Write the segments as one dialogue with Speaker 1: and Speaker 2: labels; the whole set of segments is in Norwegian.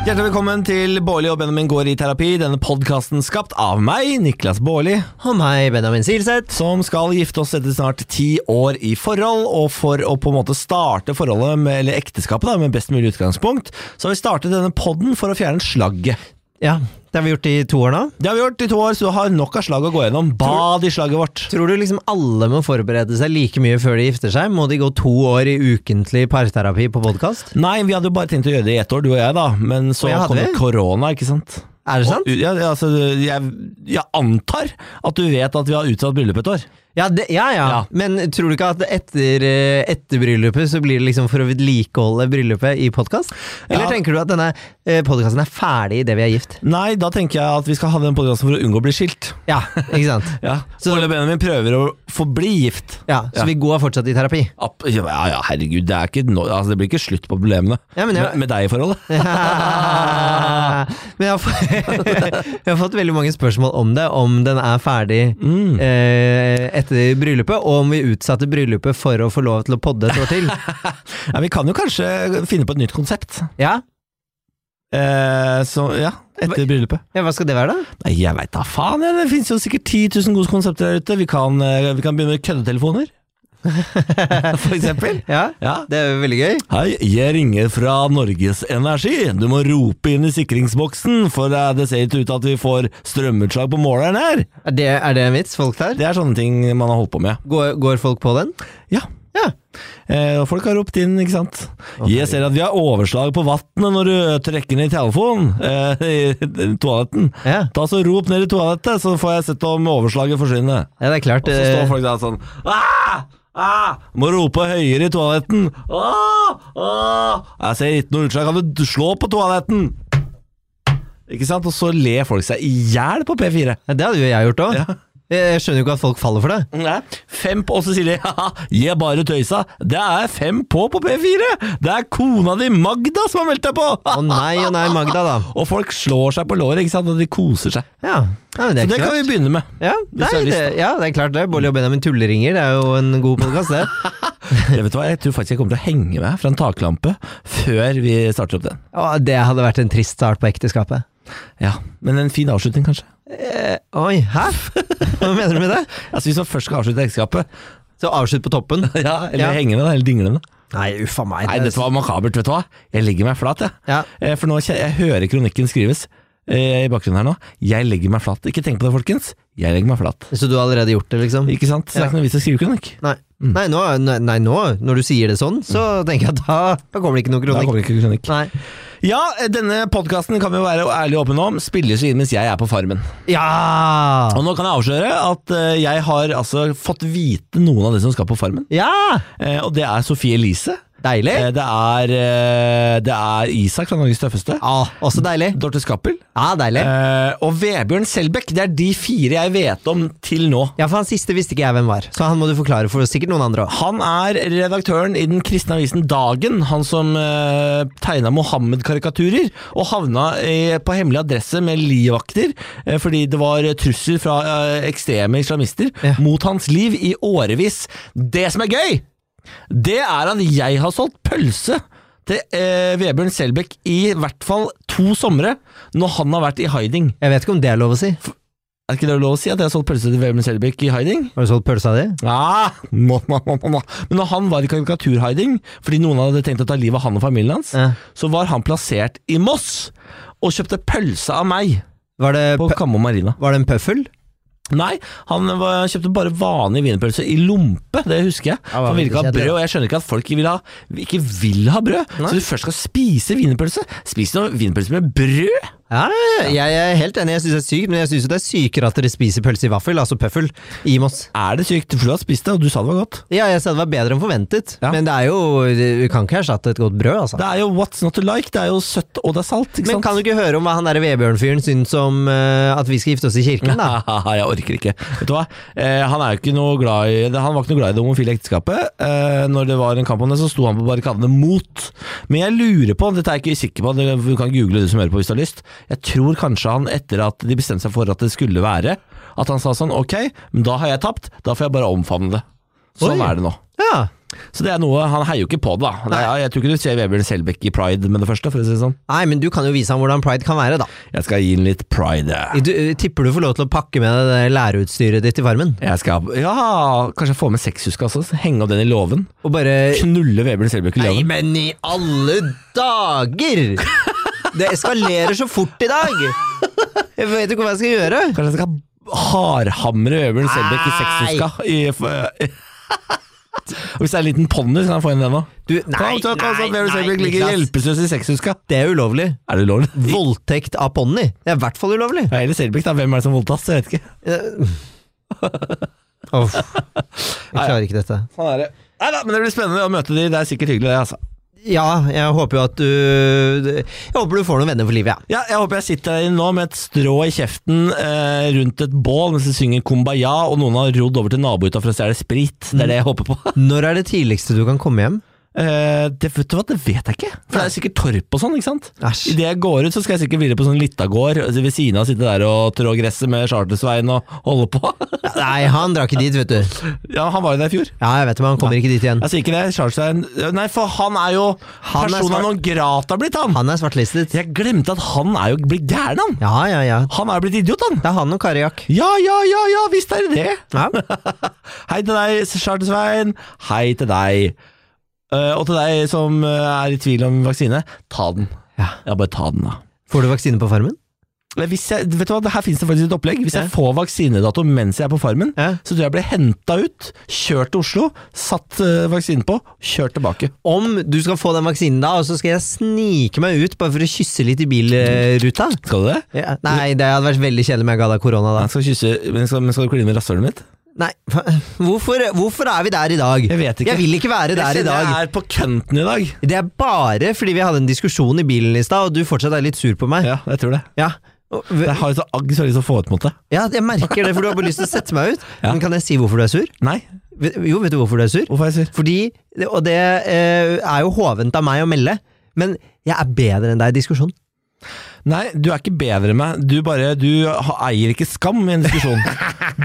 Speaker 1: Hjertelig velkommen til Bårli og Benjamin går i terapi. Denne podkasten skapt av meg, Niklas Bårli,
Speaker 2: Og meg, Benjamin Silseth.
Speaker 1: som skal gifte oss etter snart ti år i forhold. Og for å på en måte starte forholdet, med, eller ekteskapet, da, med best mulig utgangspunkt, så har vi startet denne podden for å fjerne slagget.
Speaker 2: Ja, det har vi gjort i to år nå.
Speaker 1: Det har vi gjort i to år, så du har nok av slag å gå gjennom. Bad i slagget vårt.
Speaker 2: Tror du liksom alle må forberede seg like mye før de gifter seg? Må de gå to år i ukentlig parterapi på podkast?
Speaker 1: Nei, vi hadde jo bare tenkt å gjøre det i ett år, du og jeg, da. Men så
Speaker 2: Å, ja, hadde
Speaker 1: kom jo
Speaker 2: vi?
Speaker 1: korona, ikke sant.
Speaker 2: Er det sant?
Speaker 1: Og, ja, altså, jeg, jeg antar at du vet at vi har utsatt bryllupet et år.
Speaker 2: Ja, det, ja, ja,
Speaker 1: Ja.
Speaker 2: Men tror du ikke at etter, eh, etter bryllupet så blir det liksom for å vedlikeholde bryllupet i podkast? Eller
Speaker 1: Ja.
Speaker 2: tenker du at denne podkasten er ferdig idet vi er gift?
Speaker 1: Nei, da tenker jeg at vi skal ha den podkasten for å unngå å bli skilt.
Speaker 2: Ja, ikke sant?
Speaker 1: Ja. Ole Benjamin prøver å forbli gift.
Speaker 2: Ja, så
Speaker 1: Ja.
Speaker 2: vi går fortsatt i terapi.
Speaker 1: App- Ja, ja, herregud, det, er ikke no, altså, det blir ikke slutt på problemene
Speaker 2: Ja, men jeg-
Speaker 1: med, med deg i forholdet.
Speaker 2: Men jeg har, fått, jeg har fått veldig mange spørsmål om det, om den er ferdig
Speaker 1: Mm.
Speaker 2: eh, etter bryllupet, og om vi utsatte bryllupet for å få lov til å podde et år til.
Speaker 1: Ja, vi kan jo kanskje finne på et nytt konsept.
Speaker 2: Ja?
Speaker 1: Eh, så, ja, etter bryllupet.
Speaker 2: ja, hva skal det være da?
Speaker 1: Nei, jeg veit da faen, jeg. det fins jo sikkert 10 000 gode konsepter der ute. Vi kan, eh, vi kan begynne med køddetelefoner, for eksempel.
Speaker 2: Ja,
Speaker 1: Ja.
Speaker 2: det er jo veldig gøy.
Speaker 1: Hei, jeg ringer fra Norges Energi. Du må rope inn i sikringsboksen, for eh, det ser ikke ut til at vi får strømutslag på måleren her.
Speaker 2: Er det, er det en vits, folk der?
Speaker 1: Det er sånne ting man har holdt på med.
Speaker 2: Går, går folk på den?
Speaker 1: Ja.
Speaker 2: Ja.
Speaker 1: Eh, og folk har ropt inn, ikke sant. Jeg ser at vi har overslag på vannet når du trekker ned telefonen eh, i toaletten.
Speaker 2: Ja,
Speaker 1: Ta så Rop ned i toalettet, så får jeg sett om overslaget forsvinner.
Speaker 2: ja det er klart.
Speaker 1: Og så
Speaker 2: eh,
Speaker 1: står folk der sånn ah! Ah! Må rope høyere i toaletten. Ah! Ah! Jeg ser ikke noe utslag. Kan du slå på toaletten? Ikke sant? Og så ler folk seg i hjel på P4.
Speaker 2: ja, det hadde jo jeg gjort òg.
Speaker 1: Ja.
Speaker 2: Jeg skjønner jo ikke at folk faller for det.
Speaker 1: Nei. Fem på, og så sier de haha, jeg bare tøysa. Det er fem på på P4! Det er kona di Magda som har meldt deg på!
Speaker 2: Å nei, å nei, Magda, da.
Speaker 1: Og folk slår seg på låret, ikke sant, og de koser seg.
Speaker 2: Ja, ja men
Speaker 1: Så det
Speaker 2: det er ikke
Speaker 1: kan
Speaker 2: klart.
Speaker 1: vi begynne med.
Speaker 2: Ja,
Speaker 1: Hvis
Speaker 2: nei,
Speaker 1: du har lyst,
Speaker 2: det, ja, det er klart det. Bolli og Benjamin tulleringer, det er jo en god podkast, det.
Speaker 1: Jeg, vet du hva, jeg tror faktisk jeg kommer til å henge meg fra en taklampe før vi starter opp den.
Speaker 2: Å, det hadde vært en trist start på ekteskapet.
Speaker 1: Ja, Men en fin avslutning, kanskje.
Speaker 2: Eh, oi, hæ? Hva mener du med det?
Speaker 1: Altså Hvis man først skal avslutte ekteskapet,
Speaker 2: Så avslutt på toppen.
Speaker 1: ja, eller
Speaker 2: Ja.
Speaker 1: henge med det, eller dingle med det.
Speaker 2: Nei, uffa meg.
Speaker 1: Nei, dette var makabert, vet du hva. Jeg legger meg flat, jeg.
Speaker 2: Ja.
Speaker 1: Eh, For nå kje- jeg hører kronikken skrives eh, i bakgrunnen her nå. Jeg legger meg flat. Ikke tenk på det, folkens. Jeg legger meg flat.
Speaker 2: Så du har allerede gjort det, liksom? Mm.
Speaker 1: Ikke sant? Så det
Speaker 2: Ja.
Speaker 1: er ikke noe vits i å skrive kronikk.
Speaker 2: Nei. Nei, nå, nei, nei, nå, når du sier det sånn, så tenker jeg at da, da kommer det ikke noe
Speaker 1: Da
Speaker 2: kronikk.
Speaker 1: kommer det ikke kronikk.
Speaker 2: Nei.
Speaker 1: Ja, eh, denne podkasten kan vi jo være ærlige og åpne om. Spilles jo inn mens jeg er på Farmen.
Speaker 2: Ja!
Speaker 1: Og nå kan jeg avsløre at eh, jeg har altså fått vite noen av de som skal på Farmen.
Speaker 2: Ja!
Speaker 1: Eh, Og det er Sofie Elise.
Speaker 2: Deilig.
Speaker 1: Eh, Det er, eh, det er Isak fra Norges tøffeste.
Speaker 2: Ja, også deilig.
Speaker 1: Dorte Skappel.
Speaker 2: Ja, deilig.
Speaker 1: Eh, og Vebjørn Selbekk, det er de fire jeg vet om til nå.
Speaker 2: Ja, for han siste visste ikke jeg hvem var, så han må du forklare for sikkert noen andre òg.
Speaker 1: Han er redaktøren i den kristne avisen Dagen, han som eh, tegna Mohammed-karikaturer, og havna eh, på hemmelig adresse med livvakter eh, fordi det var eh, trusler fra eh, ekstreme islamister
Speaker 2: Ja.
Speaker 1: mot hans liv i årevis. Det som er gøy, det er at jeg har solgt pølse til eh, Vebjørn Selbekk i hvert fall to somre når han har vært i hiding.
Speaker 2: Jeg vet ikke om det er lov å si.
Speaker 1: Er ikke det lov å si at jeg har solgt pølse til Vebjørn Selbekk i hiding?
Speaker 2: Har du solgt pølsa di?
Speaker 1: Ah, må, må, må, må, må. Men når han var i karikaturhiding, fordi noen hadde tenkt å ta livet av han og familien hans,
Speaker 2: Ja.
Speaker 1: så var han plassert i Moss og kjøpte pølse av meg
Speaker 2: Var det,
Speaker 1: på
Speaker 2: pø-
Speaker 1: Kammo Marina.
Speaker 2: var det en pøffel?
Speaker 1: Nei, han var, kjøpte bare vanlig wienerpølse i lompe, det husker jeg.
Speaker 2: Ja, det
Speaker 1: han ville ikke ha
Speaker 2: kjedelig,
Speaker 1: brød,
Speaker 2: da.
Speaker 1: og jeg skjønner ikke at folk ikke vil ha, ikke vil ha brød.
Speaker 2: Nei.
Speaker 1: Så du først skal spise wienerpølse, spis noe wienerpølse med brød!
Speaker 2: Ja, jeg er helt enig. Jeg syns det er sykt, men jeg syns det er sykere at dere spiser pølse i vaffel, altså pøffel, i Moss.
Speaker 1: Er det sykt? For du har spist det, og du sa det var godt.
Speaker 2: Ja, jeg sa det var bedre enn forventet,
Speaker 1: Ja.
Speaker 2: men det er jo Du kan ikke erstatte et godt brød, altså.
Speaker 1: Det er jo what's not to like, det er jo søtt og det er salt, ikke
Speaker 2: men
Speaker 1: sant?
Speaker 2: kan du ikke høre om hva han der Vebjørn-fyren syns om eh, at vi skal gifte oss i kirken, da?
Speaker 1: jeg orker ikke. Vet du hva? Eh, han, er jo ikke noe glad i, han var ikke noe glad i det homofile ekteskapet. Eh, når det var en kamp om det, så sto han på barrikadene mot. Men jeg lurer på, dette er jeg ikke sikker på, det- du kan google du som hører på hvis du har lyst. Jeg tror kanskje han, etter at de bestemte seg for at det skulle være, at han sa sånn ok, men da har jeg tapt, da får jeg bare omfavne det. Sånn
Speaker 2: Oi.
Speaker 1: er det nå.
Speaker 2: Ja.
Speaker 1: Så det er noe, Han heier jo ikke på det, da. Det er, jeg tror ikke du ser Vebjørn Selbekk i pride med det første. for å si det sånn.
Speaker 2: Nei, men du kan jo vise ham hvordan pride kan være, da.
Speaker 1: Jeg skal gi den litt pride. jeg.
Speaker 2: Du, eh, tipper du får lov til å pakke med deg det læreutstyret ditt i Farmen?
Speaker 1: Jeg skal, ja, Kanskje jeg får med sexhuska også? så Henge opp den i låven?
Speaker 2: Og bare
Speaker 1: Knulle Vebjørn Selbekk i
Speaker 2: Nei,
Speaker 1: låven?
Speaker 2: men i alle dager! Det eskalerer så fort i dag! Jeg vet ikke hva jeg skal gjøre.
Speaker 1: Kanskje jeg skal hardhamre Vebjørn Selbekk i sexhuska? I, Og hvis det er en liten ponni, kan jeg få inn den òg.
Speaker 2: Du, nei,
Speaker 1: Kom, takk, altså, Vebjørn Selbekk ligger
Speaker 2: Niklas.
Speaker 1: hjelpeløs i sexhuska.
Speaker 2: Det er ulovlig.
Speaker 1: Er det ulovlig?
Speaker 2: Voldtekt av ponni. Det er i hvert fall ulovlig.
Speaker 1: Ja, Eller Selbekk, da. Hvem er det som voldtas? Jeg vet ikke.
Speaker 2: Uff. Jeg klarer ikke dette.
Speaker 1: Sånn er det. Nei da, men det blir spennende å møte de. Det er sikkert hyggelig, det, altså.
Speaker 2: Ja, jeg håper jo at du Jeg håper du får noen venner for livet, ja.
Speaker 1: Ja, jeg håper jeg sitter der inne nå med et strå i kjeften eh, rundt et bål mens jeg synger Kumbaya, og noen har rodd over til nabohytta for å stjele sprit. Det er det jeg håper på.
Speaker 2: Når er det tidligste du kan komme hjem?
Speaker 1: Eh, det, vet du hva, det vet jeg ikke. For det er sikkert torp og sånn, ikke sant.
Speaker 2: Æsj.
Speaker 1: Idet jeg går ut, så skal jeg sikkert videre på sånn Littagård altså ved siden av sitte der og trå gresset med Chartersveien og holde på.
Speaker 2: Nei, han drar ikke dit, vet du.
Speaker 1: ja, han var jo der i fjor.
Speaker 2: Ja, jeg vet det, men han kommer ikke dit igjen.
Speaker 1: Jeg sier ikke det. Chartersveien Nei, for han er jo
Speaker 2: Han er
Speaker 1: persona
Speaker 2: svart-
Speaker 1: non grata blitt, han.
Speaker 2: Han er svartlistet.
Speaker 1: Jeg glemte at han er jo blitt gæren, han.
Speaker 2: Ja, ja, ja.
Speaker 1: Han er jo blitt idiot, han.
Speaker 2: Det er han og Kariak.
Speaker 1: Ja, ja, ja, ja, visst er det det.
Speaker 2: Ja.
Speaker 1: Hei til deg, Charter-Svein. Hei til deg. Eh, og til deg som eh, er i tvil om vaksine, ta den.
Speaker 2: Ja.
Speaker 1: bare ta den, da.
Speaker 2: Får du vaksine på farmen?
Speaker 1: Eller Hvis jeg, vet du hva, det Her finnes det faktisk et opplegg. Hvis
Speaker 2: Ja.
Speaker 1: jeg får vaksinedato mens jeg er på Farmen,
Speaker 2: Ja.
Speaker 1: så tror jeg jeg blir henta ut, kjørt til Oslo, satt eh, vaksinen på, kjørt tilbake.
Speaker 2: Om du skal få den vaksinen da, og så skal jeg snike meg ut bare for å kysse litt i bilruta?
Speaker 1: Skal du det?
Speaker 2: Ja. Nei, det hadde vært veldig kjedelig om jeg ga deg korona da.
Speaker 1: Jeg skal, kysse, men skal, men skal du kline med rasshølet mitt?
Speaker 2: Nei, fa- hvorfor, hvorfor er vi der i dag?
Speaker 1: Jeg vet ikke.
Speaker 2: Jeg vil ikke være der
Speaker 1: jeg
Speaker 2: i dag.
Speaker 1: jeg er på kønten i dag.
Speaker 2: Det er bare fordi vi hadde en diskusjon i bilen i stad, og du fortsatt er litt sur på meg.
Speaker 1: Ja, jeg tror det.
Speaker 2: Ja. Og-
Speaker 1: Jeg har jo så agg så jeg har lyst til å få ut mot det.
Speaker 2: ja, jeg merker det, for du har bare lyst til å sette meg ut.
Speaker 1: Ja.
Speaker 2: Men kan jeg si hvorfor du er sur?
Speaker 1: Nei,
Speaker 2: Vet- Jo, vet du hvorfor du er sur?
Speaker 1: hvorfor er jeg sur?
Speaker 2: Fordi, og det eh, er jo hovent av meg å melde, men jeg er bedre enn deg i diskusjon.
Speaker 1: Nei, du er ikke bedre enn meg. Du bare Du ha- eier ikke skam i en diskusjon.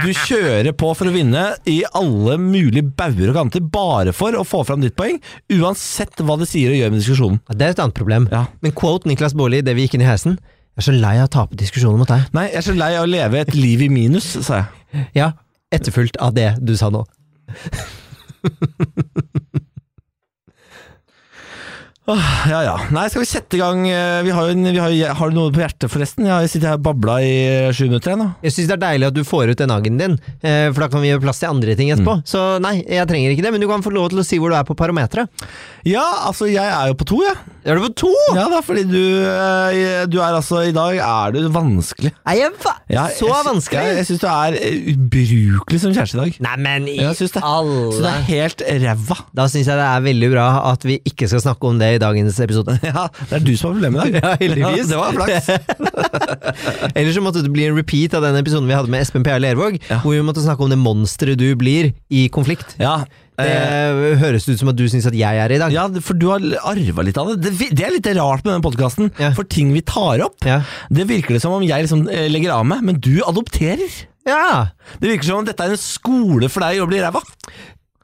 Speaker 1: Du kjører på for å vinne i alle mulige bauger og kanter, bare for å få fram ditt poeng, uansett hva det sier og gjør med diskusjonen.
Speaker 2: Ja, Det er et annet problem.
Speaker 1: Ja.
Speaker 2: Men quote Niklas Baarli idet vi gikk inn i heisen. Jeg er så lei av å tape diskusjoner mot deg.
Speaker 1: Nei, jeg er så lei av å leve et liv i minus, sa jeg.
Speaker 2: Ja, etterfulgt av det du sa nå.
Speaker 1: Ja ja. Nei, skal vi sette i gang eh, Vi har jo, en, vi har, jo- har du noe på hjertet, forresten? Jeg har jo sittet her og babla i eh, sju minutter, jeg nå.
Speaker 2: Jeg syns det er deilig at du får ut den aggen din, eh, for da kan vi gjøre plass til andre ting etterpå.
Speaker 1: Mm.
Speaker 2: Så nei, jeg trenger ikke det, men du kan få lov til å si hvor du er på parometeret.
Speaker 1: Ja, altså, jeg er jo på to, jeg. Ja.
Speaker 2: Er du på to?
Speaker 1: ja da, fordi du eh, Du er altså I dag er du vanskelig.
Speaker 2: Er jeg va
Speaker 1: Ja,
Speaker 2: så
Speaker 1: jeg sy-
Speaker 2: vanskelig?
Speaker 1: Ja, jeg syns du er eh, ubrukelig som kjæreste i dag.
Speaker 2: Nei, men i
Speaker 1: Ja, jeg syns det. Så det
Speaker 2: alle
Speaker 1: er helt ræva.
Speaker 2: Da syns jeg det er veldig bra at vi ikke skal snakke om det i dagens episode.
Speaker 1: Ja, det er du som har problemet i dag.
Speaker 2: Ja, heldigvis.
Speaker 1: det var flaks.
Speaker 2: Eller så måtte det bli en repeat av den episoden vi hadde med Espen P.A. Lervåg,
Speaker 1: Ja.
Speaker 2: hvor vi måtte snakke om det monsteret du blir i konflikt.
Speaker 1: Ja,
Speaker 2: Det
Speaker 1: eh,
Speaker 2: høres ut som at du syns at jeg er i dag.
Speaker 1: ja, for du har arva litt av det. det. vi- Det er litt rart med den podkasten,
Speaker 2: Ja.
Speaker 1: for ting vi tar opp,
Speaker 2: Ja.
Speaker 1: det virker det som om jeg liksom eh, legger av meg, men du adopterer.
Speaker 2: Ja.
Speaker 1: Det virker som om dette er en skole for deg å bli ræva.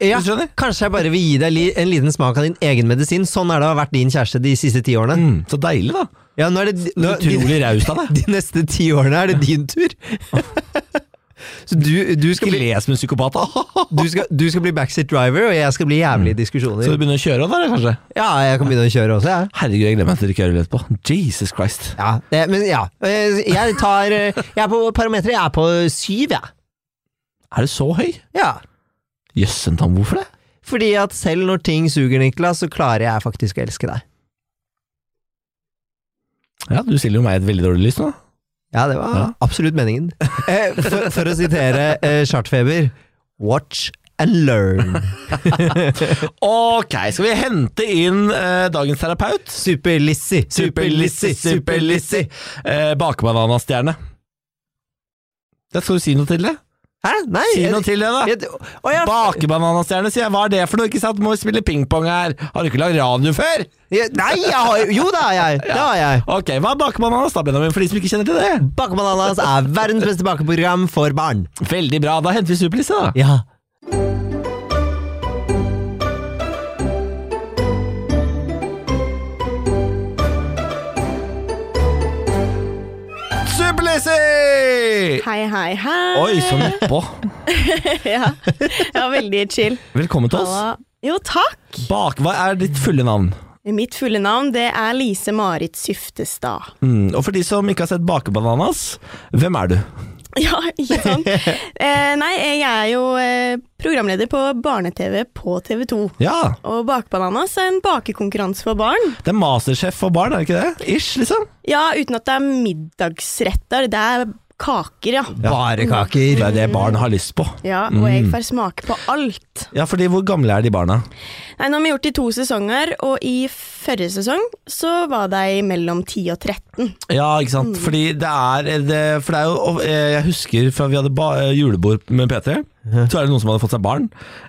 Speaker 2: Ja,
Speaker 1: Du skjønner?
Speaker 2: Kanskje jeg bare vil gi deg li en liten smak av din egen medisin. Sånn er det å ha vært din kjæreste de siste ti årene.
Speaker 1: Mm, så deilig, da.
Speaker 2: Ja, nå er det nå, de,
Speaker 1: Utrolig raust av deg.
Speaker 2: de neste ti årene er det din tur. Så du, du, skal
Speaker 1: Ikke
Speaker 2: bli,
Speaker 1: les med en psykopat, da.
Speaker 2: du, skal, du skal bli backseat driver, og jeg skal bli jævlig
Speaker 1: Mm.
Speaker 2: i
Speaker 1: Så
Speaker 2: diskusjoner.
Speaker 1: du begynner å kjøre da, kanskje?
Speaker 2: Ja, jeg kan begynne å kjøre også, jeg.
Speaker 1: Herregud, jeg glemmer at dere ikke hører litt på. Jesus Christ.
Speaker 2: Ja, det, men ja. Eh, Jeg tar eh, Jeg er på parameteret. Jeg er på syv, jeg.
Speaker 1: Er du så høy?
Speaker 2: Ja.
Speaker 1: Jøssentann, hvorfor det?
Speaker 2: Fordi at selv når ting suger, Niklas, så klarer jeg faktisk å elske deg.
Speaker 1: Ja, du stiller jo meg i et veldig dårlig lys nå.
Speaker 2: Ja, det var
Speaker 1: Ja.
Speaker 2: absolutt meningen. Eh, For, for å sitere eh, Chartfeber Watch and learn.
Speaker 1: Ok, skal vi hente inn eh, dagens terapeut?
Speaker 2: Super-Lissi, super-Lissi, super-Lissi.
Speaker 1: Eh, Bakebananastjerne. Det skal du si noe til det?
Speaker 2: Hæ? Nei?
Speaker 1: Si noe til det, da!
Speaker 2: Jeg- Å ja.
Speaker 1: Bakebananastjerne, sier jeg. Hva er det for noe? Ikke sant? Må vi spille pingpong her. Har du ikke lagd radio før?
Speaker 2: Jeg- Nei, jeg har jo Jo, det har jeg. Det har jeg.
Speaker 1: Ok, hva er bakebananas da, Benjamin, for de som ikke kjenner til det?
Speaker 2: Bakebananas er verdens beste bakeprogram for barn.
Speaker 1: Veldig bra, da henter vi superlisse, da.
Speaker 2: Ja.
Speaker 1: Kjempelesi!
Speaker 3: Hei, hei, hei.
Speaker 1: Oi, så nedpå.
Speaker 3: ja. ja, veldig chill.
Speaker 1: Velkommen til oss.
Speaker 3: Halla. Jo, takk.
Speaker 1: Bak, hva er ditt fulle navn?
Speaker 3: Mitt fulle navn det er Lise Marit Syftestad.
Speaker 1: Mm, og for de som ikke har sett Bakebananas, hvem er du?
Speaker 3: Ja, ikke sant? eh, nei, jeg er jo eh, programleder på barne-TV på TV 2.
Speaker 1: Ja,
Speaker 3: Og Bakbananas er en bakekonkurranse for barn.
Speaker 1: det er mastersjef for barn, er det ikke det? Ish, liksom.
Speaker 3: Ja, uten at det er middagsretter. Det er kaker, ja.
Speaker 2: Bare kaker.
Speaker 1: Det er det barn har lyst på.
Speaker 3: Ja, Og
Speaker 1: Mm.
Speaker 3: jeg får smake på alt.
Speaker 1: Ja, fordi hvor gamle er de barna?
Speaker 3: Nei, Nå har vi gjort det i to sesonger, og i forrige sesong så var de mellom 10 og 13.
Speaker 1: Ja, ikke sant.
Speaker 2: Mm.
Speaker 1: Fordi det er, det, for det er jo og, eh, Jeg husker fra vi hadde ba, eh, julebord med P3, så er det noen som hadde fått seg barn.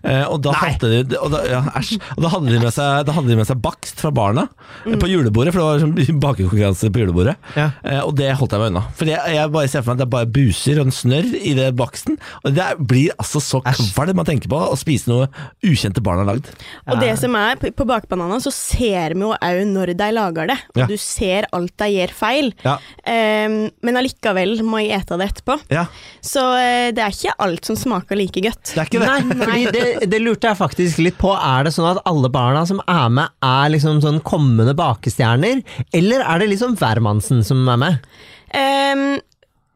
Speaker 1: Eh, og, da hadde de, og, da, ja, æsj, og da hadde de med seg Da hadde de med seg bakst fra barna eh, på julebordet, for det var sånn bakekonkurranse på julebordet.
Speaker 2: Mm. Ja.
Speaker 1: Eh, og det holdt jeg meg unna. For jeg, jeg bare ser for meg at det er bare buser og en snørr i det baksten. Og det blir altså så
Speaker 2: Æsj.
Speaker 1: kvalm å tenke på å spise noe ukjente barn har lagd.
Speaker 3: Og det som er, på- på Bakbananas så ser vi jo òg når de lager det, og
Speaker 1: Ja.
Speaker 3: du ser alt de gjør feil.
Speaker 1: Ja.
Speaker 3: Ehm, men allikevel må jeg ete det etterpå.
Speaker 1: Ja.
Speaker 3: Så eh, det er ikke alt som smaker like godt.
Speaker 1: Det er ikke det.
Speaker 2: Fordi det, det lurte jeg faktisk litt på. Er det sånn at alle barna som er med, er liksom sånn kommende bakestjerner? Eller er det liksom hvermannsen som er med?
Speaker 3: Ehm,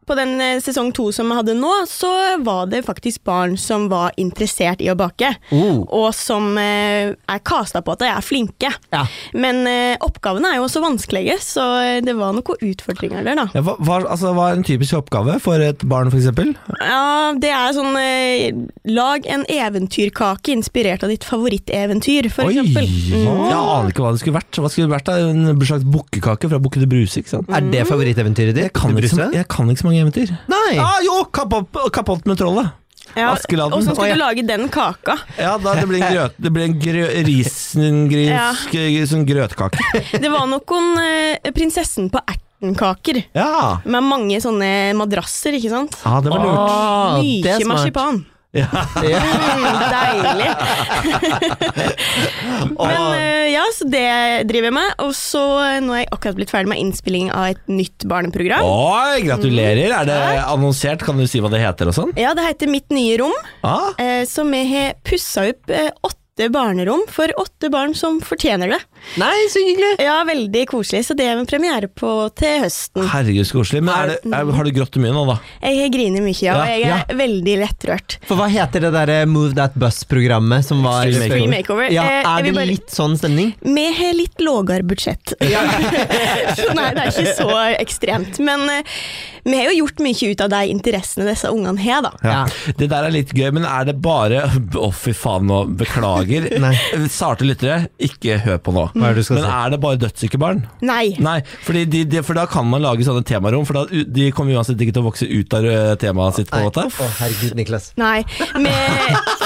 Speaker 3: på den eh, sesong to som vi hadde nå, så var det faktisk barn som var interessert i å bake.
Speaker 2: Oh.
Speaker 3: Og som eh, er kasta på at de er flinke.
Speaker 2: Ja.
Speaker 3: Men eh, oppgavene er jo også vanskelige, så eh, det var noen utfordringer der, da.
Speaker 1: Ja, hva, hva, altså, hva er en typisk oppgave for et barn, f.eks.?
Speaker 3: Ja, det er sånn eh, Lag en eventyrkake inspirert av ditt favoritteventyr, for eksempel. Mm.
Speaker 1: Jeg aner ikke hva det skulle vært. Hva skulle det vært da? En slags bukkekake fra Bukke til Bruse, ikke sant?
Speaker 2: Er det favoritteventyret ditt?
Speaker 1: Jeg kan, ikke, så-
Speaker 2: Bruse?
Speaker 1: jeg kan ikke så mange eventyr.
Speaker 2: Nei!
Speaker 1: Ah, jo, Kappott kappott med trollet!
Speaker 3: Ja,
Speaker 1: Askeladden.
Speaker 3: Åssen
Speaker 1: Å,
Speaker 3: skal
Speaker 1: ja.
Speaker 3: du lage den kaka?
Speaker 1: Ja, da, det blir en, grøt, det blir en grø, ris, en gris,
Speaker 3: Ja.
Speaker 1: gr- sånn grøtkake.
Speaker 3: Det var noen eh, Prinsessen på erten-kaker.
Speaker 1: Ja.
Speaker 3: Med mange sånne madrasser, ikke sant?
Speaker 1: Ah, det var lurt.
Speaker 2: Ah, det er
Speaker 3: Mye
Speaker 2: smart.
Speaker 3: marsipan.
Speaker 2: Ja.
Speaker 3: Mm, deilig. Men eh, ja, så det driver jeg med. Og så eh, nå er jeg akkurat blitt ferdig med innspilling av et nytt barneprogram.
Speaker 1: Oi, gratulerer! Er det annonsert? Kan du si hva det heter og sånn?
Speaker 3: Ja, det heter Mitt nye rom.
Speaker 1: Ah,
Speaker 3: Eh, så vi har pussa opp eh, åtte barnerom for åtte barn som fortjener det.
Speaker 2: Nei, så hyggelig!
Speaker 3: Ja, veldig koselig. Så det er vi premiere på til høsten.
Speaker 1: herregud, så koselig. Men er det, er, har du grått mye nå, da?
Speaker 3: Jeg har grinet mye, ja, og jeg
Speaker 2: Ja,
Speaker 3: er veldig lettrørt.
Speaker 2: For hva heter det derre Move That Bus-programmet som var
Speaker 1: Extreme
Speaker 3: Makeover. Makeover.
Speaker 2: Ja,
Speaker 3: Eh, jeg
Speaker 2: er
Speaker 3: vil
Speaker 2: det
Speaker 3: bare-
Speaker 2: litt sånn stemning?
Speaker 3: Vi har litt lågere budsjett. så nei, det er ikke så ekstremt. Men eh, vi har jo gjort mye ut av de interessene disse ungene har, da.
Speaker 1: Ja.
Speaker 2: Ja.
Speaker 1: Det der er litt gøy, men er det bare Å, fy faen, nå beklager.
Speaker 2: Nei.
Speaker 1: Sarte lyttere, ikke hør på nå.
Speaker 2: Hva er det du skal
Speaker 1: men
Speaker 2: si?
Speaker 1: er det bare dødssyke barn?
Speaker 3: Nei.
Speaker 1: Nei, fordi de, de, for da kan man lage sånne temarom, for da, u- de kommer uansett ikke til å vokse ut av eh, temaet sitt. på en måte
Speaker 2: Å, herregud, Niklas.
Speaker 3: Nei. Men,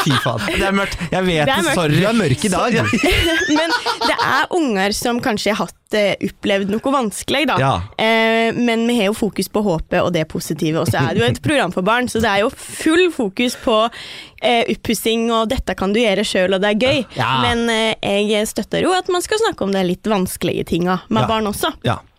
Speaker 2: Fy faen.
Speaker 1: Det er mørkt. Jeg vet
Speaker 3: Det er mørkt.
Speaker 1: sorry.
Speaker 2: Du er mørk i dag.
Speaker 3: men det er unger som kanskje har hatt, eh, opplevd noe vanskelig, da.
Speaker 1: Ja.
Speaker 3: Eh, men vi har jo fokus på håpet og det positive. Og så er det jo et program for barn, så det er jo full fokus på eh, oppussing og 'dette kan du gjøre sjøl', og det er gøy.
Speaker 2: Ja.
Speaker 3: Men eh, jeg støtter jo at man skal snakke om de litt vanskelige tinga med
Speaker 1: Ja.
Speaker 3: barn også.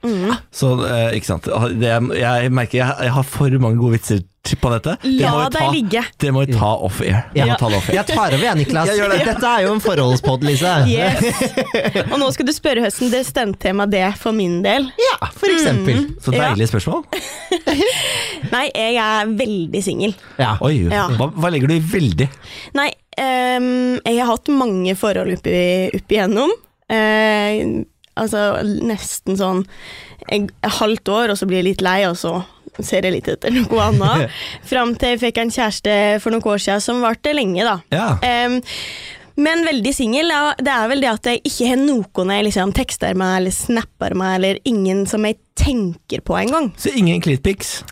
Speaker 3: Mm.
Speaker 1: Ja. Så, eh, ikke sant. Det, jeg merker jeg, jeg har for mange gode vitser til- på dette. Det
Speaker 3: La
Speaker 1: må vi
Speaker 3: deg
Speaker 1: ta-
Speaker 3: ligge.
Speaker 1: Det må vi ta off air. Vi
Speaker 2: Ja.
Speaker 1: må ta det off air.
Speaker 2: Jeg tar over, jeg, Niklas.
Speaker 1: Jeg gjør det.
Speaker 2: Dette er jo en forholdspod, Lise.
Speaker 3: Yes. Og nå skal du spørre høsten det stendtema det for min del.
Speaker 2: Ja, for eksempel.
Speaker 1: Så deilige spørsmål.
Speaker 3: Nei, jeg er veldig singel.
Speaker 2: Ja.
Speaker 1: Oi,
Speaker 3: Ja.
Speaker 1: hva, hva legger du i 'veldig'?
Speaker 3: Nei, ehm, jeg har hatt mange forhold oppi, oppi igjennom. Eh, altså nesten sånn en, et halvt år, og så blir jeg litt lei, og så ser jeg litt etter noe annet. Fram til jeg fikk en kjæreste for noen år siden som varte lenge, da.
Speaker 1: Ja.
Speaker 3: Ehm, men veldig singel. ja, Det er vel det at jeg ikke har noen jeg liksom tekster meg eller snapper meg, eller ingen som jeg tenker på engang.
Speaker 1: Så ingen clitpics?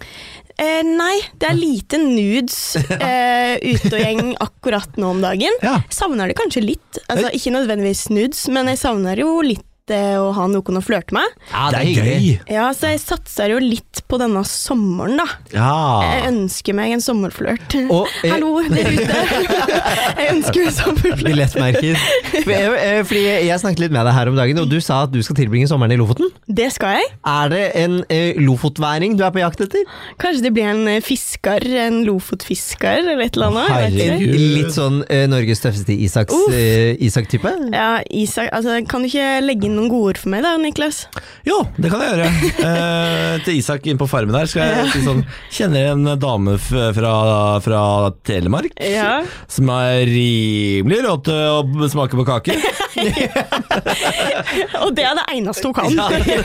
Speaker 3: Eh, nei, det er lite nudes eh, ute og gjeng akkurat nå om dagen.
Speaker 1: Ja.
Speaker 3: Savner det kanskje litt. Altså, ikke nødvendigvis nudes, men jeg savner jo litt eh, å ha noen å flørte med.
Speaker 2: Ja,
Speaker 1: det er gøy!
Speaker 3: Ja, så jeg satser jo litt på denne sommeren, da. Jeg
Speaker 1: Ja.
Speaker 3: ønsker meg en sommerflørt.
Speaker 2: Ah. Og, eh,
Speaker 3: Hallo, dere ute! jeg ønsker meg sommerflørt.
Speaker 2: Billettmerker. For- eh, eh, Fordi jeg snakket litt med deg her om dagen, og du sa at du skal tilbringe sommeren i Lofoten.
Speaker 3: Det skal jeg.
Speaker 2: Er det en eh, lofotværing du er på jakt etter?
Speaker 3: Kanskje det blir en eh, fisker, en lofotfisker eller et eller annet.
Speaker 2: En
Speaker 3: Jeg vet ikke.
Speaker 1: Herregud.
Speaker 2: litt sånn eh, Norges tøffeste Isaks,
Speaker 3: Uff.
Speaker 2: eh, Isak-type?
Speaker 3: Ja, Isak, altså, kan du ikke legge inn noen gode ord for meg da, Niklas?
Speaker 1: Jo, det kan jeg gjøre. Eh, til Isak inn på farmen der skal jeg si sånn Kjenner en dame f fra, fra Telemark
Speaker 3: Ja.
Speaker 1: som er rimelig rå til å smake på kaker.
Speaker 3: Og det er det eneste hun kan.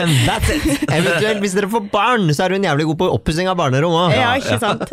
Speaker 1: And that's it!
Speaker 2: Eventuelt, hvis dere får barn, så er hun jævlig god på oppussing av barnerom òg.
Speaker 3: Ja, ikke sant?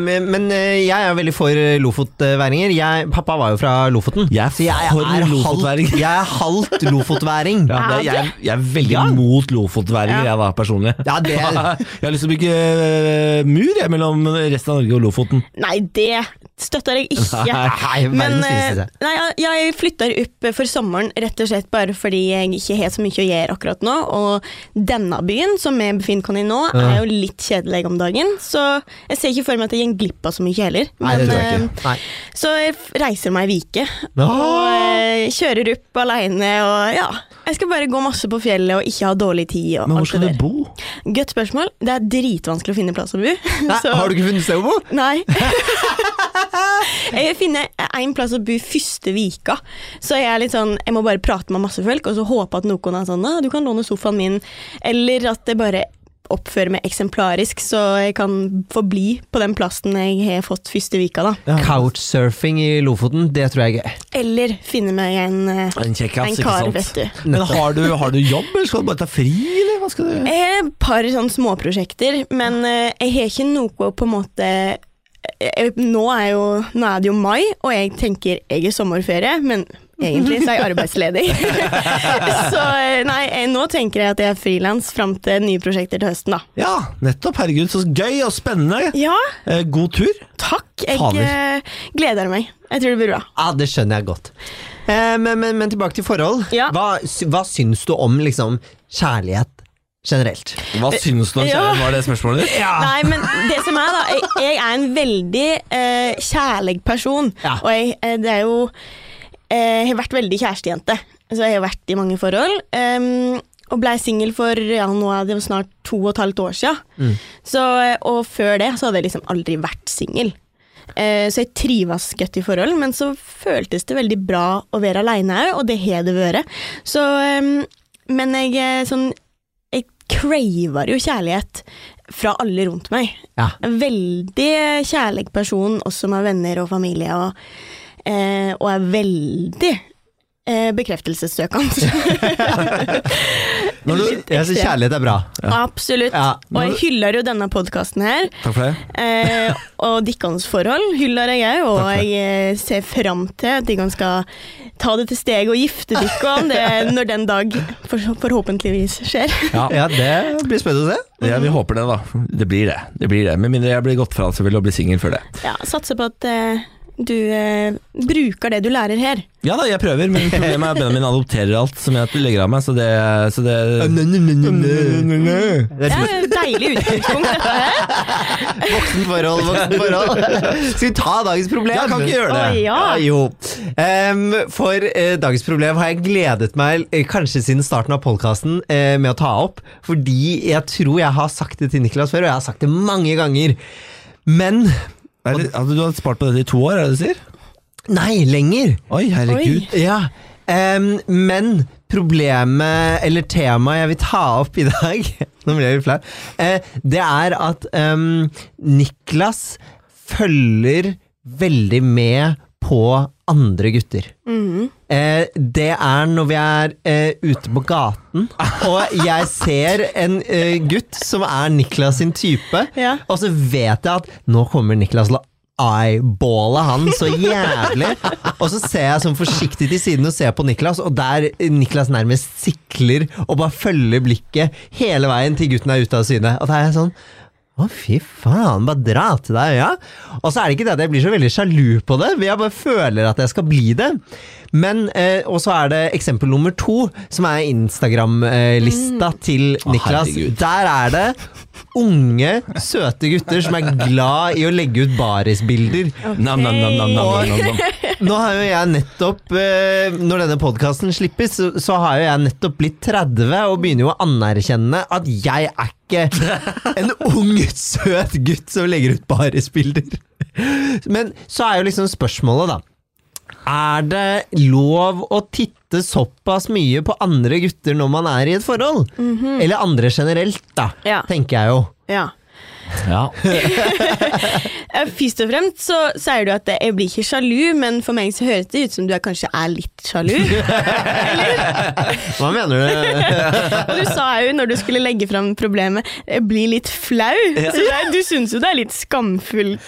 Speaker 2: men eh, jeg er veldig for eh, lofotværinger. Jeg, pappa var jo fra Lofoten.
Speaker 1: Jeg er
Speaker 2: så jeg
Speaker 1: for
Speaker 2: er,
Speaker 1: lofotværing.
Speaker 2: halvt, jeg er halvt lofotværing.
Speaker 1: Ja, det, jeg, jeg er veldig
Speaker 2: Ja.
Speaker 1: mot lofotværinger, jeg da, personlig.
Speaker 2: Ja, det er-
Speaker 1: Jeg har lyst til å bygge eh, mur jeg, mellom resten av Norge og Lofoten.
Speaker 3: Nei, det støtter jeg ikke.
Speaker 2: Nei,
Speaker 3: Men
Speaker 2: verdens fineste.
Speaker 3: eh, nei, ja, jeg flytter opp eh, for sommeren rett og slett bare fordi jeg ikke har så mye å gjøre akkurat nå. Og denne byen som jeg befinner meg i nå, er jo litt kjedelig om dagen. Så jeg ser ikke for meg at jeg går glipp av så mye heller.
Speaker 2: Nei, det
Speaker 3: Men,
Speaker 2: tror jeg ikke. Nei.
Speaker 3: eh, så jeg f- reiser meg i Vike
Speaker 2: Nå.
Speaker 3: og eh, kjører opp aleine og ja. Jeg skal bare gå masse på fjellet og ikke ha dårlig tid. Og
Speaker 1: Men hvor
Speaker 3: alt
Speaker 1: skal
Speaker 3: det
Speaker 1: du
Speaker 3: der.
Speaker 1: bo?
Speaker 3: Godt spørsmål. Det er dritvanskelig å finne plass å bo.
Speaker 2: Nei,
Speaker 3: så-
Speaker 2: Har du ikke funnet sted å bo?
Speaker 3: Nei. jeg finner en plass å bo første vika, så jeg er litt sånn Jeg må bare prate med masse folk, og så håpe at noen er sånn «Nei, Du kan låne sofaen min, eller at jeg bare oppfører meg eksemplarisk, så jeg kan forbli på den plassen jeg har fått første vika, da.
Speaker 2: Couchsurfing i Lofoten, det tror jeg er gøy.
Speaker 3: Eller finne meg en, eh,
Speaker 1: En kjekkas,
Speaker 3: en
Speaker 1: ikke
Speaker 3: kar,
Speaker 1: sant?
Speaker 3: vet du.
Speaker 1: Men har du, har du jobb, eller skal du bare ta fri, eller hva skal du
Speaker 3: Jeg har et par sånn småprosjekter, men eh, jeg har ikke noe på en måte jeg, nå, er jo, nå er det jo mai, og jeg tenker jeg er sommerferie, men egentlig så er jeg arbeidsledig. så eh, nei, jeg, nå tenker jeg at jeg er frilans fram til nye prosjekter til høsten, da.
Speaker 1: Ja, nettopp. Herregud, så gøy og spennende.
Speaker 3: Ja,
Speaker 1: Eh, god tur.
Speaker 3: takk. Jeg
Speaker 1: Fader.
Speaker 3: eh, gleder meg. Jeg tror det blir bra.
Speaker 2: Ja, det skjønner jeg godt. Eh, men, men, men tilbake til forhold.
Speaker 3: Ja.
Speaker 2: Hva, sy- hva syns du om liksom, kjærlighet generelt?
Speaker 1: Hva syns du om
Speaker 3: ja.
Speaker 1: kjæresten? Var det spørsmålet ditt?
Speaker 3: Nei, men det som er da Jeg, jeg er en veldig eh, kjærlig person
Speaker 2: Ja.
Speaker 3: Og jeg, eh, det er jo eh, Jeg har vært veldig kjærestejente Så jeg har vært i mange forhold em, Og ble single for ja, nå er det jo snart to og et halvt år siden
Speaker 2: Mm.
Speaker 3: så, eh, Og før det så hadde jeg liksom aldri vært single Eh, så jeg trives godt i forhold, men så føltes det veldig bra å være alene her, og det har det vært. Så, em, men jeg, eh, sånn, jeg craver jo kjærlighet fra alle rundt meg.
Speaker 2: Ja.
Speaker 3: En veldig kjærlig person, også med venner og familie, og, eh, og er veldig eh, bekreftelsessøkende.
Speaker 2: Når du, jeg syns kjærlighet er bra.
Speaker 3: Absolutt.
Speaker 2: Ja.
Speaker 3: Og jeg hyller jo denne podkasten her,
Speaker 1: Takk for det.
Speaker 3: eh, og deres forhold hyller jeg òg, og
Speaker 1: Takk for det.
Speaker 3: jeg eh, ser fram til at dere skal ta det til steget og gifte dere når den dag for, forhåpentligvis skjer.
Speaker 1: Ja.
Speaker 2: Ja, det blir spennende å se.
Speaker 1: Ja, vi håper det, da. Det blir det. det, blir det. Med mindre jeg blir gått fra selvfølgelig og blir singel før det.
Speaker 3: Ja, Satser på at eh, du eh, bruker det du lærer her.
Speaker 1: Ja da, jeg prøver, men problemet er at Benjamin adopterer alt som jeg legger av meg, så det, så det
Speaker 2: Nø, nø, nø, nø, nø. Det
Speaker 3: Det
Speaker 2: er
Speaker 3: er et deilig utgangspunkt, dette her.
Speaker 2: Voksen forhold, voksen forhold. Skal vi ta dagens problem?
Speaker 1: Ja, kan ikke gjøre det.
Speaker 3: Oi, ja.
Speaker 2: jo. Em, for eh, dagens problem har jeg gledet meg eh, kanskje siden starten av podkasten eh, med å ta opp, fordi jeg tror jeg har sagt det til Niklas før, og jeg har sagt det mange ganger. Men
Speaker 1: Er det- Hadde du spart på dette i to år, er det det du sier?
Speaker 2: nei, lenger.
Speaker 1: Oi, herregud.
Speaker 2: Ja, em, men problemet, eller temaet jeg vil ta opp i dag Nå blir jeg litt flau. eh, det er at em, Niklas følger veldig med på andre gutter. Eh, det er når vi er eh, ute på gaten, og jeg ser en eh, gutt som er Niklas sin type,
Speaker 3: Ja.
Speaker 2: og så vet jeg at nå kommer Niklas til å eyeballe han så jævlig. Og så ser jeg sånn forsiktig til siden og ser på Niklas, og der Niklas nærmest sikler og bare følger blikket hele veien til gutten er ute av syne. Og da er jeg sånn Å, fy faen, bare dra til deg øya. Og så er det ikke det at jeg blir så veldig sjalu på det, men jeg bare føler at jeg skal bli det. Men, eh, Og så er det eksempel nummer to, som er Instagram-lista til Niklas.
Speaker 1: herregud.
Speaker 2: Der er det unge, søte gutter som er glad i å legge ut barisbilder.
Speaker 1: Nam, nam, nam, nam, nam, nam, nam.
Speaker 2: Nå har jo jeg nettopp, eh, når denne podkasten slippes, så- så har jo jeg nettopp blitt 30 og begynner jo å anerkjenne at jeg er ikke en ung, søt gutt som legger ut barisbilder. Men så er jo liksom spørsmålet, da. Er det lov å titte såpass mye på andre gutter når man er i et forhold? Eller andre generelt, da,
Speaker 3: Ja.
Speaker 2: tenker jeg jo.
Speaker 3: Ja.
Speaker 1: Ja.
Speaker 3: Eh, Først og fremst så sier du at eh, jeg blir ikke sjalu, men for meg så høres det ut som du er, kanskje er litt sjalu.
Speaker 2: Hva mener du?
Speaker 3: Og du sa jo når du skulle legge fram problemet, jeg blir litt flau. Så det er, du syns jo det er litt skamfullt.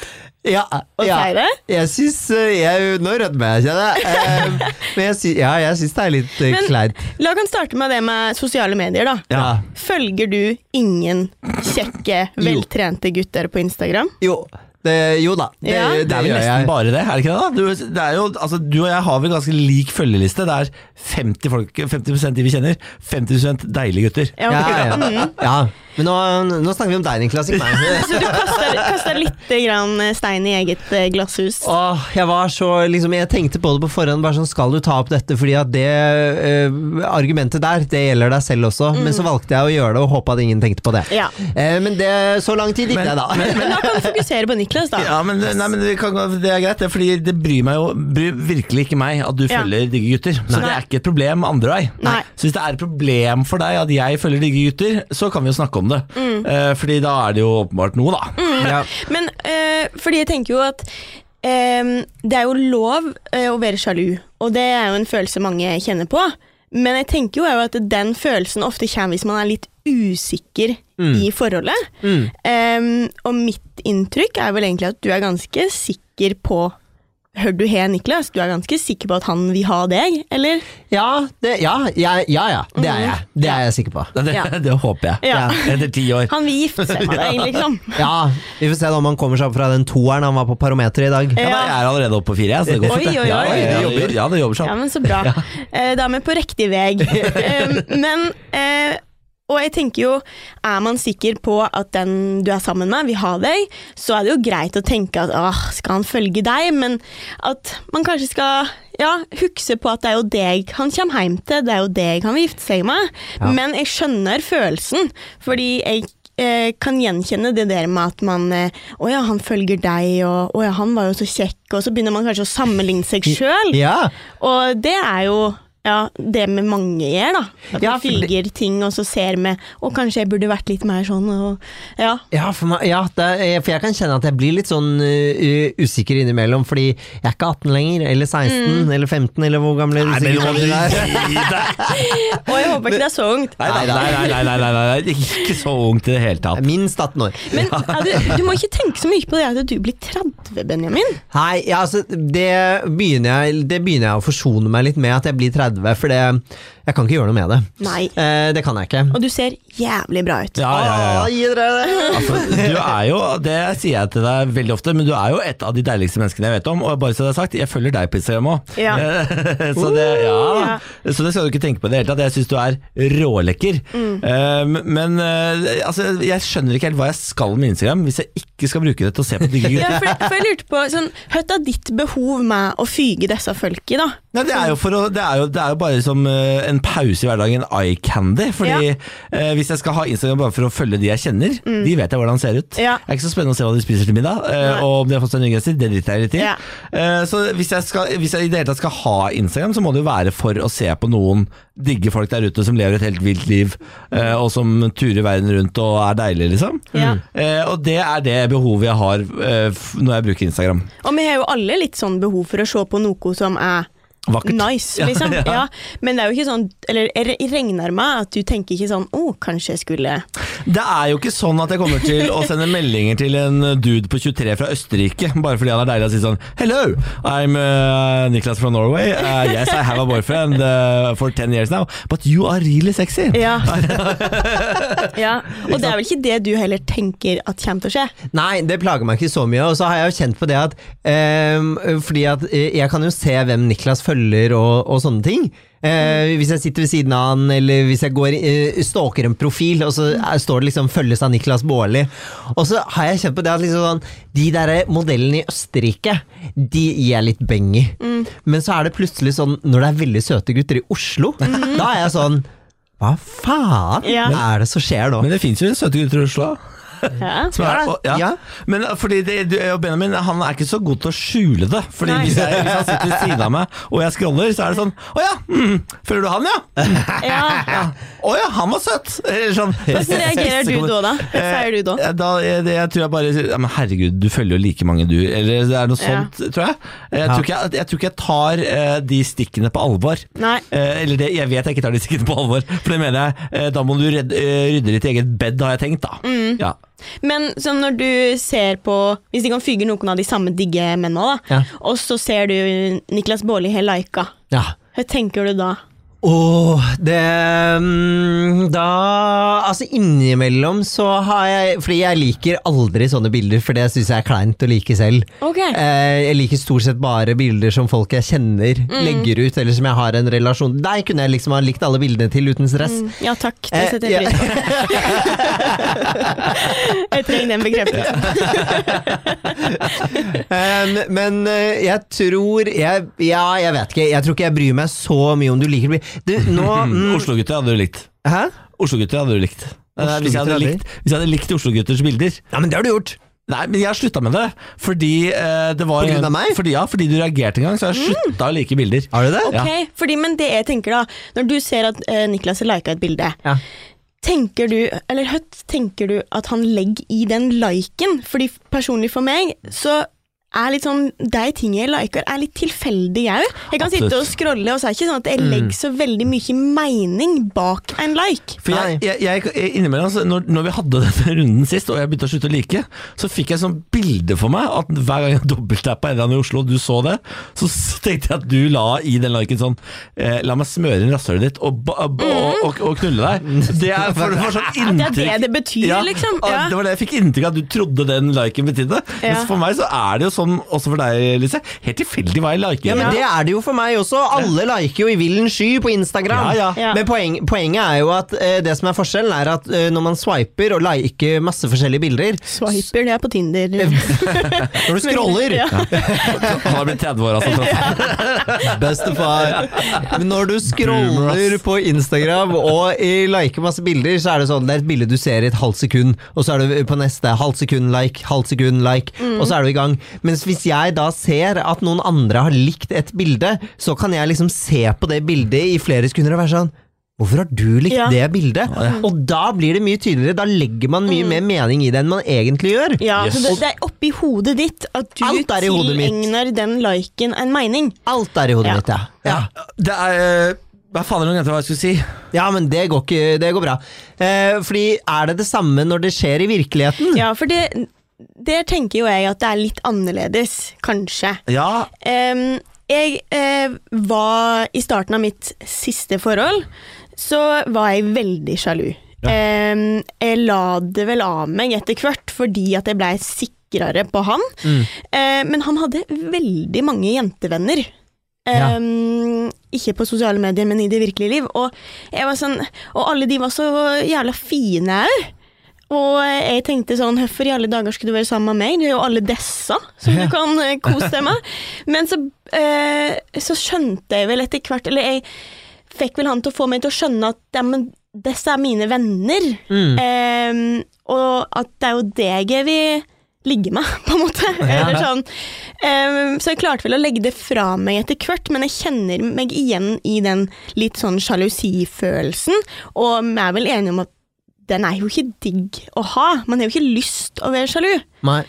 Speaker 2: Ja,
Speaker 3: Å
Speaker 2: ja.
Speaker 3: si det?
Speaker 2: Jeg syns eh, jeg, Nå rødmer jeg, kjenner jeg. Eh, Men jeg syns, ja, jeg syns det er litt eh,
Speaker 3: Men-
Speaker 2: kleint.
Speaker 3: La oss starte med det med sosiale medier, da.
Speaker 2: Ja.
Speaker 3: Følger du ingen kjekke, veltrente gutter på Instagram?
Speaker 2: Jo, det, jo da, det,
Speaker 3: Ja.
Speaker 2: det,
Speaker 1: Det er vel
Speaker 2: gjør
Speaker 1: nesten
Speaker 2: jeg.
Speaker 1: bare det, er det ikke det? da? Du, det er jo, altså, du og jeg har vel ganske lik følgeliste. Det er 50, folk, 50 de vi kjenner, 50 deilige gutter.
Speaker 3: Ja,
Speaker 2: Ja,
Speaker 3: ok. Mm.
Speaker 2: ja. ja. Men nå, nå snakker vi om deg, Niklas, ikke meg.
Speaker 3: Så du kaster, kaster litt grann stein i eget eh, glasshus?
Speaker 2: Åh, jeg var så liksom, Jeg tenkte på det på forhånd. Bare sånn, Skal du ta opp dette? Fordi at det eh, argumentet der, det gjelder deg selv også. Men så valgte jeg å gjøre det og håpe at ingen tenkte på det.
Speaker 3: Mm. Ja.
Speaker 2: Eh, men det, så lang tid gikk det, da.
Speaker 3: Men da kan du fokusere på Niklas, da.
Speaker 1: Ja, men, nei, men vi kan, Det er greit, det, fordi det bryr meg jo bryr virkelig ikke meg at du
Speaker 3: Ja.
Speaker 1: følger digge gutter. Så det
Speaker 3: Nei.
Speaker 1: er ikke et problem andre vei.
Speaker 3: Nei.
Speaker 1: Så hvis det er et problem for deg at jeg følger digge gutter, så kan vi jo snakke om det.
Speaker 3: Mm.
Speaker 1: Eh, fordi da er det jo åpenbart noe, da.
Speaker 2: ja.
Speaker 3: Men eh, fordi jeg tenker jo at eh, det er jo lov eh, å være sjalu, og det er jo en følelse mange kjenner på. Men jeg tenker jo er jo at den følelsen ofte kommer hvis man er litt usikker
Speaker 1: Mm.
Speaker 3: i forholdet. Eh, og mitt inntrykk er vel egentlig at du er ganske sikker på Hør du her, Niklas? Du er ganske sikker på at han vil ha deg, eller?
Speaker 2: Ja, det, ja, ja, ja, ja. Det
Speaker 3: Mm.
Speaker 2: er jeg. Det er jeg sikker på.
Speaker 1: Det,
Speaker 3: Ja.
Speaker 1: det håper jeg.
Speaker 3: Ja.
Speaker 1: Etter ti år.
Speaker 3: Han vil gifte seg med deg, liksom.
Speaker 2: Ja, Vi får se da om han kommer seg opp fra den toeren han var på Parometeret i dag.
Speaker 1: Ja, nei, jeg er allerede oppe på fire, jeg, så det går
Speaker 3: Oi,
Speaker 1: fint. det.
Speaker 3: oi, oi.
Speaker 1: Ja, ja, ja, det- ja, det jobber
Speaker 3: Ja,
Speaker 1: sånn.
Speaker 3: men så bra. Eh, Da er vi på riktig vei. Eh, Men eh, Og jeg tenker jo, er man sikker på at den du er sammen med, vil ha deg, så er det jo greit å tenke at åh, skal han følge deg? Men at man kanskje skal ja, huske på at det er jo deg han kommer hjem til, det er jo deg han vil gifte seg med. Men jeg skjønner følelsen, fordi jeg eh, kan gjenkjenne det der med at man eh, Å ja, han følger deg, og å ja, han var jo så kjekk, og så begynner man kanskje å sammenligne seg sjøl.
Speaker 2: Ja,
Speaker 3: Og det er jo ja, det med mange gjør, da.
Speaker 2: Ja,
Speaker 3: At ja,
Speaker 2: for
Speaker 3: vi figer ting, og så ser vi Og kanskje jeg burde vært litt mer sånn, og ja.
Speaker 2: ja, for, meg, ja det, er- for jeg kan kjenne at jeg blir litt sånn ø, usikker innimellom, fordi jeg er ikke 18 lenger, eller 16, eller 15, eller hvor gammel er
Speaker 1: Mm.
Speaker 2: du
Speaker 1: Nei, men
Speaker 2: sikkert
Speaker 1: nå må du
Speaker 2: gammel du er?
Speaker 1: gi deg!
Speaker 3: Og jeg håper ikke det er så ungt.
Speaker 1: Nei, nei, nei, nei, nei, nei, nei, nei, nei. ikke så ungt i det hele tatt.
Speaker 2: Minst 18 år.
Speaker 3: Men ja, du, du må ikke tenke så mye på det at du blir 30, Benjamin.
Speaker 2: Nei, ja, altså, det, begynner jeg, det begynner jeg å forsone meg litt med, at jeg blir 30, for det, jeg kan ikke gjøre noe med det.
Speaker 3: Nei.
Speaker 2: Eh, det kan jeg ikke.
Speaker 3: Og du ser jævlig bra ut.
Speaker 1: Ja, ja, ja, ja.
Speaker 2: Ah, gi dere det!
Speaker 1: Altså, du er jo, det sier jeg til deg veldig ofte, men du er jo et av de deiligste menneskene jeg vet om. Og bare så det er sagt, jeg følger deg på Instagram òg.
Speaker 3: Ja.
Speaker 1: så, det, ja. så det skal du ikke tenke på i det hele tatt. Jeg syns du er rålekker.
Speaker 3: Mm.
Speaker 1: Um, men eh, altså, jeg skjønner ikke helt hva jeg skal med Instagram hvis jeg ikke skal bruke det til å se på digge
Speaker 3: Ja,
Speaker 1: gutter.
Speaker 3: for, for jeg lurte på sånn, Hva er ditt behov med å fyge disse folka, da?
Speaker 1: Nei, det, er jo for å, det, er jo, det er jo bare som eh, en pause i hverdagen, eye candy. Fordi eh, hvis jeg skal ha Instagram bare for å følge de jeg kjenner, de vet jeg hvordan ser ut.
Speaker 3: Mm. Ja.
Speaker 1: Det er ikke så spennende å se hva de spiser til middag, eh,
Speaker 3: Nei.
Speaker 1: og om de har fått seg nye genser. Det driter jeg litt i.
Speaker 3: Ja.
Speaker 1: Eh, så hvis jeg, skal, hvis jeg i det hele tatt skal ha Instagram, så må det jo være for å se på noen digge folk der ute som lever et helt vilt liv, eh, og som turer verden rundt og er deilige, liksom.
Speaker 3: Ja.
Speaker 1: Eh, og det er det behovet jeg har eh, f- når jeg bruker Instagram.
Speaker 3: Og vi har jo alle litt sånn behov for å se på noe som er
Speaker 1: Vakkert.
Speaker 3: nice, liksom.
Speaker 1: Ja,
Speaker 3: Ja,
Speaker 1: ja.
Speaker 3: Men det er jo ikke sånn Eller jeg regner med at du tenker ikke sånn Å, kanskje jeg skulle
Speaker 1: Det er jo ikke sånn at jeg kommer til å sende meldinger til en dude på 23 fra Østerrike, bare fordi han er deilig og sier sånn Hello, I'm uh, Niklas from Norway. Uh, yes, I have a boyfriend uh, for 10 years now, but you are really sexy.
Speaker 3: Ja. ja. Og det er vel ikke det du heller tenker at kommer til å skje?
Speaker 2: Nei, det plager meg ikke så mye. Og så har jeg jo kjent på det at ehm, Fordi at eh, jeg kan jo se hvem Niklas følger og, og sånne ting. Eh, hvis jeg sitter ved siden av han, eller hvis jeg går, eh, stalker en profil, og så eh, står det liksom 'følges av Niklas Baarli'. Og så har jeg kjent på det at liksom sånn, de der modellene i Østerrike, de gir jeg litt beng i. Men så er det plutselig sånn, når det er veldig søte gutter i Oslo, da er jeg sånn Hva faen
Speaker 3: Ja.
Speaker 2: er det som skjer nå?
Speaker 1: Men det fins jo søte gutter i Oslo.
Speaker 3: Ja.
Speaker 1: Som er,
Speaker 2: Ja,
Speaker 1: og, ja.
Speaker 2: ja.
Speaker 1: Men uh, fordi det, du, og Benjamin han er ikke så god til å skjule det. Fordi
Speaker 3: Nei.
Speaker 1: hvis, jeg, hvis han sitter ved siden av meg og jeg scroller, så er det sånn Å ja, mm, føler du han, ja?
Speaker 3: ja.
Speaker 1: Å ja, han var søt! Eller sånn.
Speaker 3: Hvordan reagerer du da, da? Hva sier du da?
Speaker 1: Eh, da jeg, det, jeg tror jeg bare sier, ja, Men herregud, du følger jo like mange du Eller det er noe
Speaker 3: Ja.
Speaker 1: sånt, tror jeg. Jeg, tror ikke jeg. jeg tror ikke jeg tar eh, de stikkene på alvor.
Speaker 3: Nei.
Speaker 1: Eh, eller det, jeg vet jeg ikke tar de stikkene på alvor, for det mener jeg. Eh, da må du redde, eh, rydde ditt eget bed, har jeg tenkt, da.
Speaker 3: Mm.
Speaker 1: Ja.
Speaker 3: Men sånn når du ser på Hvis de kan fyge noen av de samme digge mennene, da,
Speaker 2: Ja.
Speaker 3: og så ser du Niklas Baarli har lika,
Speaker 2: Ja.
Speaker 3: hva tenker du da?
Speaker 2: Åh, det mm, Da Altså, innimellom så har jeg Fordi jeg liker aldri sånne bilder, for det syns jeg er kleint å like selv.
Speaker 3: Ok.
Speaker 2: Eh, jeg liker stort sett bare bilder som folk jeg kjenner
Speaker 3: Mm.
Speaker 2: legger ut, eller som jeg har en relasjon Deg kunne jeg liksom ha likt alle bildene til uten stress.
Speaker 3: Ja takk, Mm. det
Speaker 2: Eh,
Speaker 3: setter jeg pris på. jeg trenger den bekreftelsen.
Speaker 2: Um, men eh, jeg tror jeg, Ja, jeg vet ikke. Jeg tror ikke jeg bryr meg så mye om du liker det. Du, nå mm,
Speaker 1: Oslo-gutter hadde du likt.
Speaker 2: Hæ?
Speaker 1: Oslo-gutter hadde du likt. Nei, nei, Hvis jeg hadde
Speaker 2: Oslo-gutter
Speaker 1: likt, hvis jeg hadde likt Oslo-gutters bilder
Speaker 2: Ja, men det har du gjort!
Speaker 1: Nei, men jeg har slutta med det. Fordi eh, det var
Speaker 2: På grunn av meg?
Speaker 1: Fordi, ja, fordi du reagerte en gang, så jeg slutta å like bilder.
Speaker 2: Har du det?
Speaker 3: Mm. Ok, fordi, Men det jeg tenker da, når du ser at eh, Niklas har lika et bilde,
Speaker 2: Ja.
Speaker 3: tenker du, eller hva tenker du at han legger i den liken? Fordi personlig for meg, så er litt sånn, de tingene jeg liker, er litt tilfeldig jeg òg. Jeg kan sitte og
Speaker 1: Absolutt.
Speaker 3: scrolle, og så er det ikke sånn at jeg legger så veldig mye mening bak en like.
Speaker 1: For jeg, jeg, jeg, innimellom, så når, når vi hadde denne runden sist, og jeg begynte å slutte å like, så fikk jeg sånn bilde for meg at hver gang jeg dobbelttappa en eller annen i Oslo, og du så det, så s- tenkte jeg at du la i den liken sånn eh, La meg smøre inn rasshølet ditt og, ba- ba- og, og, og knulle deg. Det er for det var sånn
Speaker 3: Mm. Det er
Speaker 1: inntrykk.
Speaker 3: det det betyr,
Speaker 1: Ja,
Speaker 3: liksom.
Speaker 1: og
Speaker 3: Ja.
Speaker 1: Det var det jeg fikk inntrykk av, at du trodde den liken betydde.
Speaker 3: Ja.
Speaker 1: Mens for meg så er det jo sånn, også for deg, Lise, helt tilfeldig hva jeg liker.
Speaker 2: Ja, men det er det jo for meg også. Alle liker jo i villen sky på Instagram.
Speaker 1: Ja, ja.
Speaker 3: Ja.
Speaker 2: Men poeng, poenget er jo at eh, det som er forskjellen, er at eh, når man swiper og liker masse forskjellige bilder
Speaker 3: Swiper, det er på Tinder.
Speaker 2: Når du scroller
Speaker 3: Ja.
Speaker 1: Han har blitt 30 år, altså. tross alt.
Speaker 2: Bestefar. Men når du scroller på Instagram og eh, liker masse bilder, så er det sånn det er et bilde du ser i et halvt sekund, og så er du på neste halvt sekund like, halvt sekund like,
Speaker 3: Mm.
Speaker 2: og så er du i gang. Mens hvis jeg da ser at noen andre har likt et bilde, så kan jeg liksom se på det bildet i flere sekunder og være sånn Hvorfor har du likt
Speaker 3: Ja. Mm.
Speaker 2: det bildet? Og da blir det mye tydeligere. Da legger man mye mer mening i det enn man egentlig gjør.
Speaker 3: Ja,
Speaker 1: Yes.
Speaker 3: så det, det er oppi hodet ditt at du
Speaker 2: Alt er i hodet mitt.
Speaker 3: tilegner den liken en mening.
Speaker 2: Alt er i hodet
Speaker 3: Ja.
Speaker 2: mitt, ja. ja.
Speaker 1: Det er eh, Hva faen er det nå hva jeg skulle si?
Speaker 2: Ja, men det går, ikke, det går bra. Eh, fordi er det det samme når det skjer i virkeligheten?
Speaker 3: Ja, for det, der tenker jo jeg at det er litt annerledes, kanskje.
Speaker 1: Ja,
Speaker 3: Em, jeg eh, var I starten av mitt siste forhold så var jeg veldig sjalu. Em, jeg la det vel av meg etter hvert fordi at jeg blei sikrere på han. Eh, men han hadde veldig mange jentevenner.
Speaker 2: Ja.
Speaker 3: Em, Ikke på sosiale medier, men i det virkelige liv. Og, jeg var sånn, og alle de var så jævla fine òg. Og jeg tenkte sånn, hvorfor i alle dager skulle du være sammen med meg? Det er jo alle dessa som du kan eh, kose deg med. Men så, eh, så skjønte jeg vel etter hvert, eller jeg fikk vel han til å få meg til å skjønne at ja, men disse er mine venner. Eh, og at det er jo deg jeg vil ligge med, på en måte. Eller sånn. Eh, så jeg klarte vel å legge det fra meg etter hvert, men jeg kjenner meg igjen i den litt sånn sjalusifølelsen, og vi er vel enige om at den er jo ikke digg å ha. Man har jo ikke lyst å være sjalu.
Speaker 2: Nei.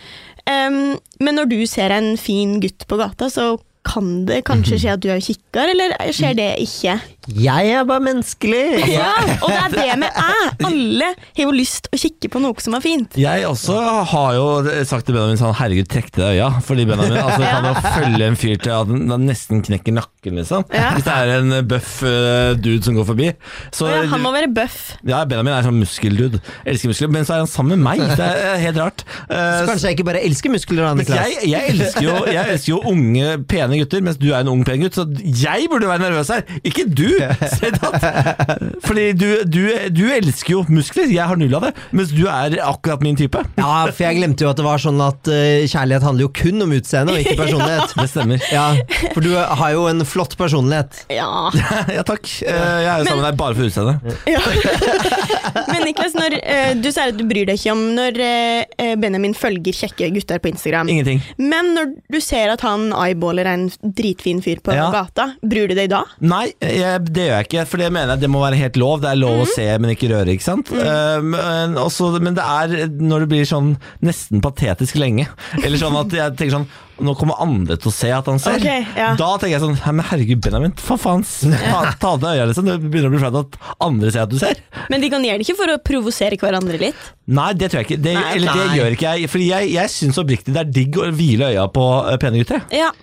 Speaker 3: Ehm, men når du ser en fin gutt på gata, så kan det kanskje skje at du er kikker, eller skjer det ikke?
Speaker 2: Jeg er bare menneskelig!
Speaker 3: Ja, og det er det med æ! Alle har jo lyst å kikke på noe som er fint.
Speaker 1: Jeg også har jo sagt til Benjamin sånn Herregud, trekk til deg øya. Fordi Benjamin altså, kan jo følge en fyr til at han han nesten knekker nakken, liksom.
Speaker 3: Ja.
Speaker 1: Hvis det er en bøff eh, dude som går forbi. Så,
Speaker 3: Å ja, han må være bøff.
Speaker 1: ja, Benjamin er sånn muskeldude. Elsker muskler. Men så er han sammen med meg. Det er helt rart. Eh,
Speaker 2: Så kanskje jeg ikke bare elsker muskler og
Speaker 1: men jeg, jeg, elsker jo, jeg elsker jo unge, pene gutter, mens du er en ung, pen gutt. Så jeg burde være nervøs her, ikke du! Sedat. Fordi du, du, du elsker jo muskler, jeg har null av det. Mens du er akkurat min type.
Speaker 2: Ja, for jeg glemte jo at det var sånn at eh, kjærlighet handler jo kun om utseende, og ikke personlighet.
Speaker 1: Det stemmer.
Speaker 2: Ja, For du har jo en flott personlighet.
Speaker 3: Ja.
Speaker 1: Ja, takk. Eh, Jeg er jo sammen med deg bare for utseendet.
Speaker 3: ja. Men Niklas, når, eh, du sier at du bryr deg ikke om når eh, Benjamin følger kjekke gutter på Instagram.
Speaker 1: Ingenting.
Speaker 3: Men når du ser at han eyeballer en dritfin fyr på
Speaker 1: Ja.
Speaker 3: gata, bryr du deg da?
Speaker 1: Nei, jeg, det gjør jeg ikke, for det mener jeg det må være helt lov. Det er lov
Speaker 3: Mhm.
Speaker 1: å se, men ikke røre, ikke sant? Eh, men, også, men det er når det blir sånn nesten patetisk lenge. Eller sånn at jeg tenker sånn Nå kommer andre til å se at han ser.
Speaker 3: Ok, ja.
Speaker 1: Da tenker jeg sånn «Hæ, Men herregud, Benjamin, for faen. s- Ta, ta av deg øya, liksom. Det begynner å bli flaut at andre ser at du ser.
Speaker 3: Men de kan gjøre det ikke for å provosere hverandre litt.
Speaker 1: Nei, det tror jeg ikke. Det,
Speaker 3: Nei,
Speaker 1: eller det
Speaker 2: nei.
Speaker 1: gjør ikke jeg. Fordi jeg, jeg syns oppriktig det er digg å hvile øya på eh, pene gutter. jeg.
Speaker 3: Ja,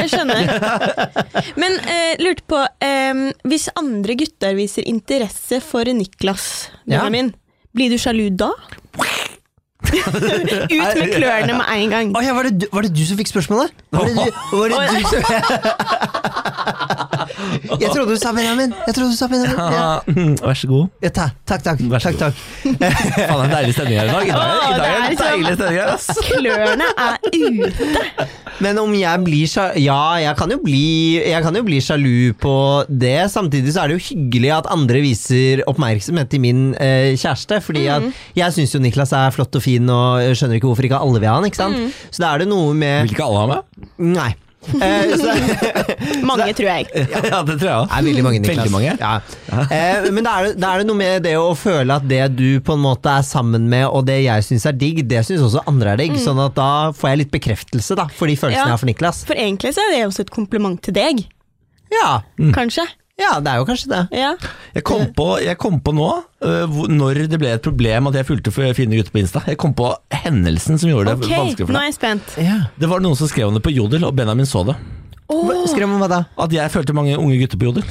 Speaker 3: jeg skjønner. Men eh, lurte på eh, Hvis andre gutter viser interesse for Niklas,
Speaker 2: Ja.
Speaker 3: Benjamin, blir du sjalu da? Ut med klørne med en gang.
Speaker 2: Å ja, var, det du, var det du som fikk spørsmålet? Var det du, var det du som Jeg trodde du sa Benjamin. Jeg trodde du sa Benjamin. Ja.
Speaker 1: Ah, Vær så god.
Speaker 2: Ja, ta, takk, takk.
Speaker 1: Vær så
Speaker 2: takk, takk.
Speaker 1: Faen, det er en deilig stemning her i dag. I dag,
Speaker 3: Åh,
Speaker 1: i dag er det
Speaker 3: det
Speaker 1: en
Speaker 3: er så-
Speaker 1: deilig stemning her, ass.
Speaker 3: Klørne er ute.
Speaker 2: Men om jeg blir sja- Ja, jeg kan, jo bli, jeg kan jo bli sjalu på det. Samtidig så er det jo hyggelig at andre viser oppmerksomhet til min eh, kjæreste. Fordi at jeg syns jo Niklas er flott og fin, og jeg skjønner ikke hvorfor ikke alle vil ha han. ikke sant? Så da er det noe med
Speaker 1: Vil ikke alle ha med?
Speaker 2: Nei. Eh, så,
Speaker 3: Mange, tror jeg.
Speaker 1: Ja, det tror jeg
Speaker 2: Det er veldig mange, Niklas.
Speaker 1: Veldig mange.
Speaker 2: Ja. Eh, men da er, det, da er det noe med det å føle at det du på en måte er sammen med, og det jeg syns er digg, det syns også andre er digg. Sånn at da får jeg litt bekreftelse da, for de følelsene
Speaker 3: Ja.
Speaker 2: jeg har for Niklas.
Speaker 3: For egentlig så er det også et kompliment til deg,
Speaker 2: Ja,
Speaker 3: kanskje.
Speaker 2: ja det er jo kanskje det.
Speaker 3: Ja.
Speaker 1: Jeg kom på, jeg kom på nå, øh, hvor- når det ble et problem at jeg fulgte for fine gutter på Insta. Jeg kom på hendelsen som gjorde det
Speaker 3: Ok,
Speaker 1: vanskelig for
Speaker 3: nå
Speaker 1: deg.
Speaker 3: er jeg spent.
Speaker 2: Ja.
Speaker 1: Det var noen som skrev om det på Jodel, og Benjamin så det.
Speaker 3: Åh,
Speaker 2: Skrem om hva da?
Speaker 1: At jeg følte mange unge gutter på Jodel.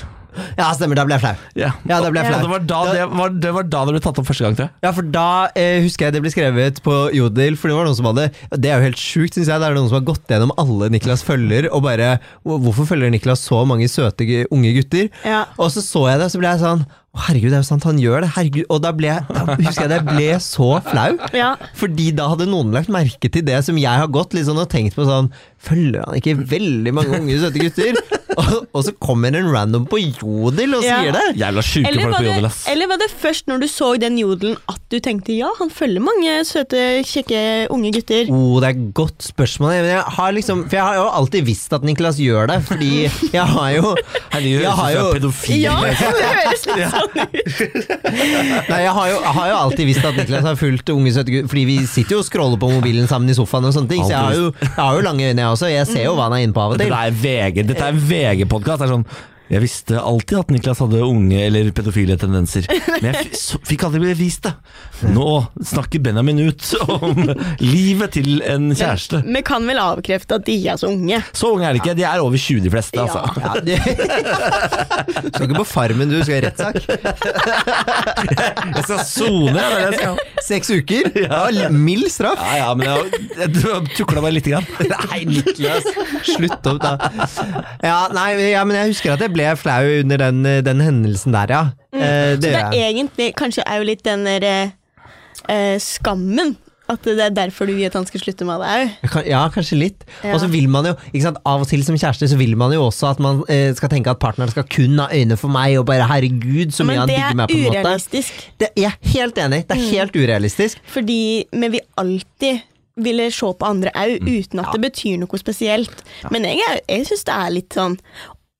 Speaker 2: Ja, stemmer, da ble jeg flau.
Speaker 1: Ja,
Speaker 2: Ja, det ble
Speaker 1: Og-
Speaker 2: flaut.
Speaker 1: og det var, da, det, var, det var da det ble tatt opp første gang, tror jeg.
Speaker 2: Ja, for da eh, husker jeg det ble skrevet på Jodel, for det var noen som hadde Det er jo helt sjukt, syns jeg. Det er noen som har gått gjennom alle Niklas følger, og bare "Hvor- Hvorfor følger Niklas så mange søte gu- unge gutter?
Speaker 3: Ja.
Speaker 2: Og så så jeg det, og så ble jeg sånn Å, herregud, det er jo sant, han gjør det. Herregud. Og da ble jeg da husker jeg det, jeg ble så flau.
Speaker 3: Ja.
Speaker 2: Fordi da hadde noen lagt merke til det som jeg har gått litt sånn og tenkt på sånn Følger han ikke veldig mange unge, søte gutter? og, og så kommer en random på Jodel og
Speaker 3: Ja.
Speaker 2: sier det.
Speaker 1: Jævla sjuke
Speaker 3: Eller
Speaker 1: folk
Speaker 3: var,
Speaker 1: på Jodel,
Speaker 3: det,
Speaker 1: ass.
Speaker 3: eller var det først når du så den jodelen at du tenkte ja, han følger mange søte, kjekke unge gutter?
Speaker 2: Oh, det er et godt spørsmål. Men jeg har liksom, for jeg har jo alltid visst at Niklas gjør det, fordi jeg har jo
Speaker 1: Herregud,
Speaker 2: Jeg
Speaker 1: jeg
Speaker 2: har
Speaker 1: synes jeg
Speaker 2: jo-
Speaker 1: er pedofil.
Speaker 3: Ja, det høres litt sånn ut.
Speaker 2: Nei, jeg har jo, jeg har jo alltid visst at Niklas har fulgt unge søte gutter, fordi vi sitter jo og scroller på mobilen sammen i sofaen og sånne ting, så jeg har jo, jeg har jo lange øyne, jeg også. Jeg ser jo hva han er inne på av og
Speaker 1: Dette
Speaker 2: til.
Speaker 1: er VG, dette er en VG-podkast. Det er sånn jeg visste alltid at Niklas hadde unge eller pedofile tendenser, men jeg f så- fikk aldri bevist det. Nå snakker Benjamin ut om livet til en kjæreste.
Speaker 3: Vi kan vel avkrefte at de ikke er så unge.
Speaker 1: Så unge er de ikke, de er over 20 de fleste, altså.
Speaker 2: Ja, det. Du skal ikke på Farmen, du. Du skal i rettssak.
Speaker 1: Jeg skal sone, det er det jeg skal.
Speaker 2: Seks uker? Ja, mild straff.
Speaker 1: Ja ja, men jeg, jeg tukla bare lite grann. Nei, Niklas.
Speaker 2: Slutt opp, da. Ja, nei, ja, men jeg husker at jeg ble flau under den, den hendelsen der, ja. Eh,
Speaker 3: Mm. Så
Speaker 2: det
Speaker 3: det
Speaker 2: gjør
Speaker 3: er
Speaker 2: jeg.
Speaker 3: egentlig kanskje er jo litt den der eh, eh, skammen. At det er derfor du vil at han skal slutte med det òg.
Speaker 2: Jeg kan- Ja, kanskje litt.
Speaker 3: Ja.
Speaker 2: Og så vil man jo, ikke sant, Av og til som kjæreste så vil man jo også at man eh, skal tenke at partneren skal kun ha øyne for meg, og bare herregud, så mye
Speaker 3: Men
Speaker 2: han
Speaker 3: det
Speaker 2: digger
Speaker 3: er
Speaker 2: meg, på en måte.
Speaker 3: urealistisk. Mm.
Speaker 2: Det, jeg er helt enig, det er helt urealistisk.
Speaker 3: Fordi vi vil alltid ville se
Speaker 2: Mm.
Speaker 3: på andre òg, uten at det betyr noe spesielt. Men jeg, er- jeg syns det er litt sånn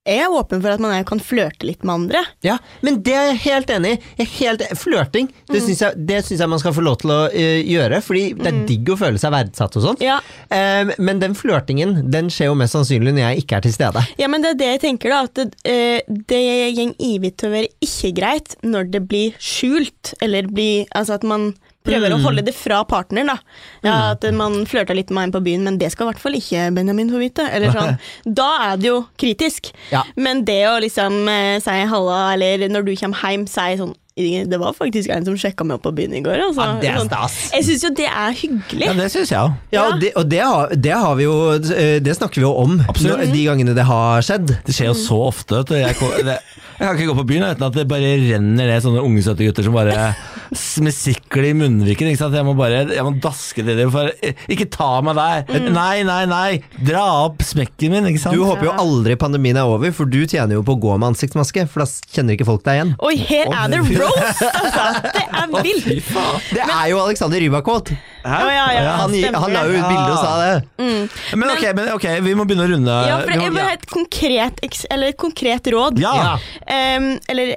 Speaker 3: jeg er åpen for at man er, kan flørte litt med andre.
Speaker 2: Ja, men det er jeg helt enig i. Jeg er helt en- Flørting
Speaker 3: Mm.
Speaker 2: det syns jeg, det syns jeg man skal få lov til å eh, gjøre, fordi det er digg å føle seg verdsatt og sånt.
Speaker 3: Mm. Ja.
Speaker 2: Eh, men den flørtingen den skjer jo mest sannsynlig når jeg ikke er til stede.
Speaker 3: Ja, men det er det jeg tenker, da. At det, eh, det gjeng ivig til å være ikke greit når det blir skjult, eller blir Altså at man prøver
Speaker 2: Mm.
Speaker 3: å holde det fra partneren, da. Ja, At man flørta litt med en på byen, men det skal i hvert fall ikke Benjamin få vite. Eller sånn. Da er det jo kritisk.
Speaker 2: Ja.
Speaker 3: Men det å liksom eh, si halla, eller når du kommer hjem, si sånn det var faktisk en som sjekka meg opp på byen i går. Altså.
Speaker 2: Ja, det er
Speaker 3: Sånn.
Speaker 2: stas.
Speaker 3: Jeg syns jo det er hyggelig.
Speaker 1: Ja, det syns jeg òg.
Speaker 2: Ja,
Speaker 3: Ja.
Speaker 2: og, det, og det, har, det har vi jo eh, Det snakker vi jo om
Speaker 1: Absolutt.
Speaker 2: når- de gangene det har skjedd.
Speaker 1: Det skjer jo
Speaker 3: Mm.
Speaker 1: så ofte. Vet du. Jeg, ko- det, jeg kan ikke gå på byen uten at det bare renner ned sånne unge, søte gutter som bare s- med sikkel i munnviken. Ikke sant? Jeg må bare jeg må daske til dem. For, eh, ikke ta meg der!
Speaker 3: Mm.
Speaker 1: Nei, nei, nei! Dra opp smekken min, ikke sant?
Speaker 3: Sånn,
Speaker 2: Du håper jo aldri pandemien er over, for du tjener jo på å gå med ansiktsmaske, for da kjenner ikke folk deg igjen.
Speaker 3: Oi, her er det roast, altså! Det er vilt!
Speaker 1: Fy faen.
Speaker 2: Det er jo Alexander Rybakvold!
Speaker 1: Hæ?
Speaker 3: Å, ja, ja, ja.
Speaker 2: Han, gi-
Speaker 3: stemmer
Speaker 2: han la
Speaker 3: det.
Speaker 2: jo ut bilde og sa det.
Speaker 1: Men, ok, men ok, vi må begynne å runde.
Speaker 3: Ja, for
Speaker 1: Vi må-
Speaker 3: jeg vil ha et konkret, eks- eller et konkret råd.
Speaker 1: Eh, Ja. Ja.
Speaker 3: Ehm, eller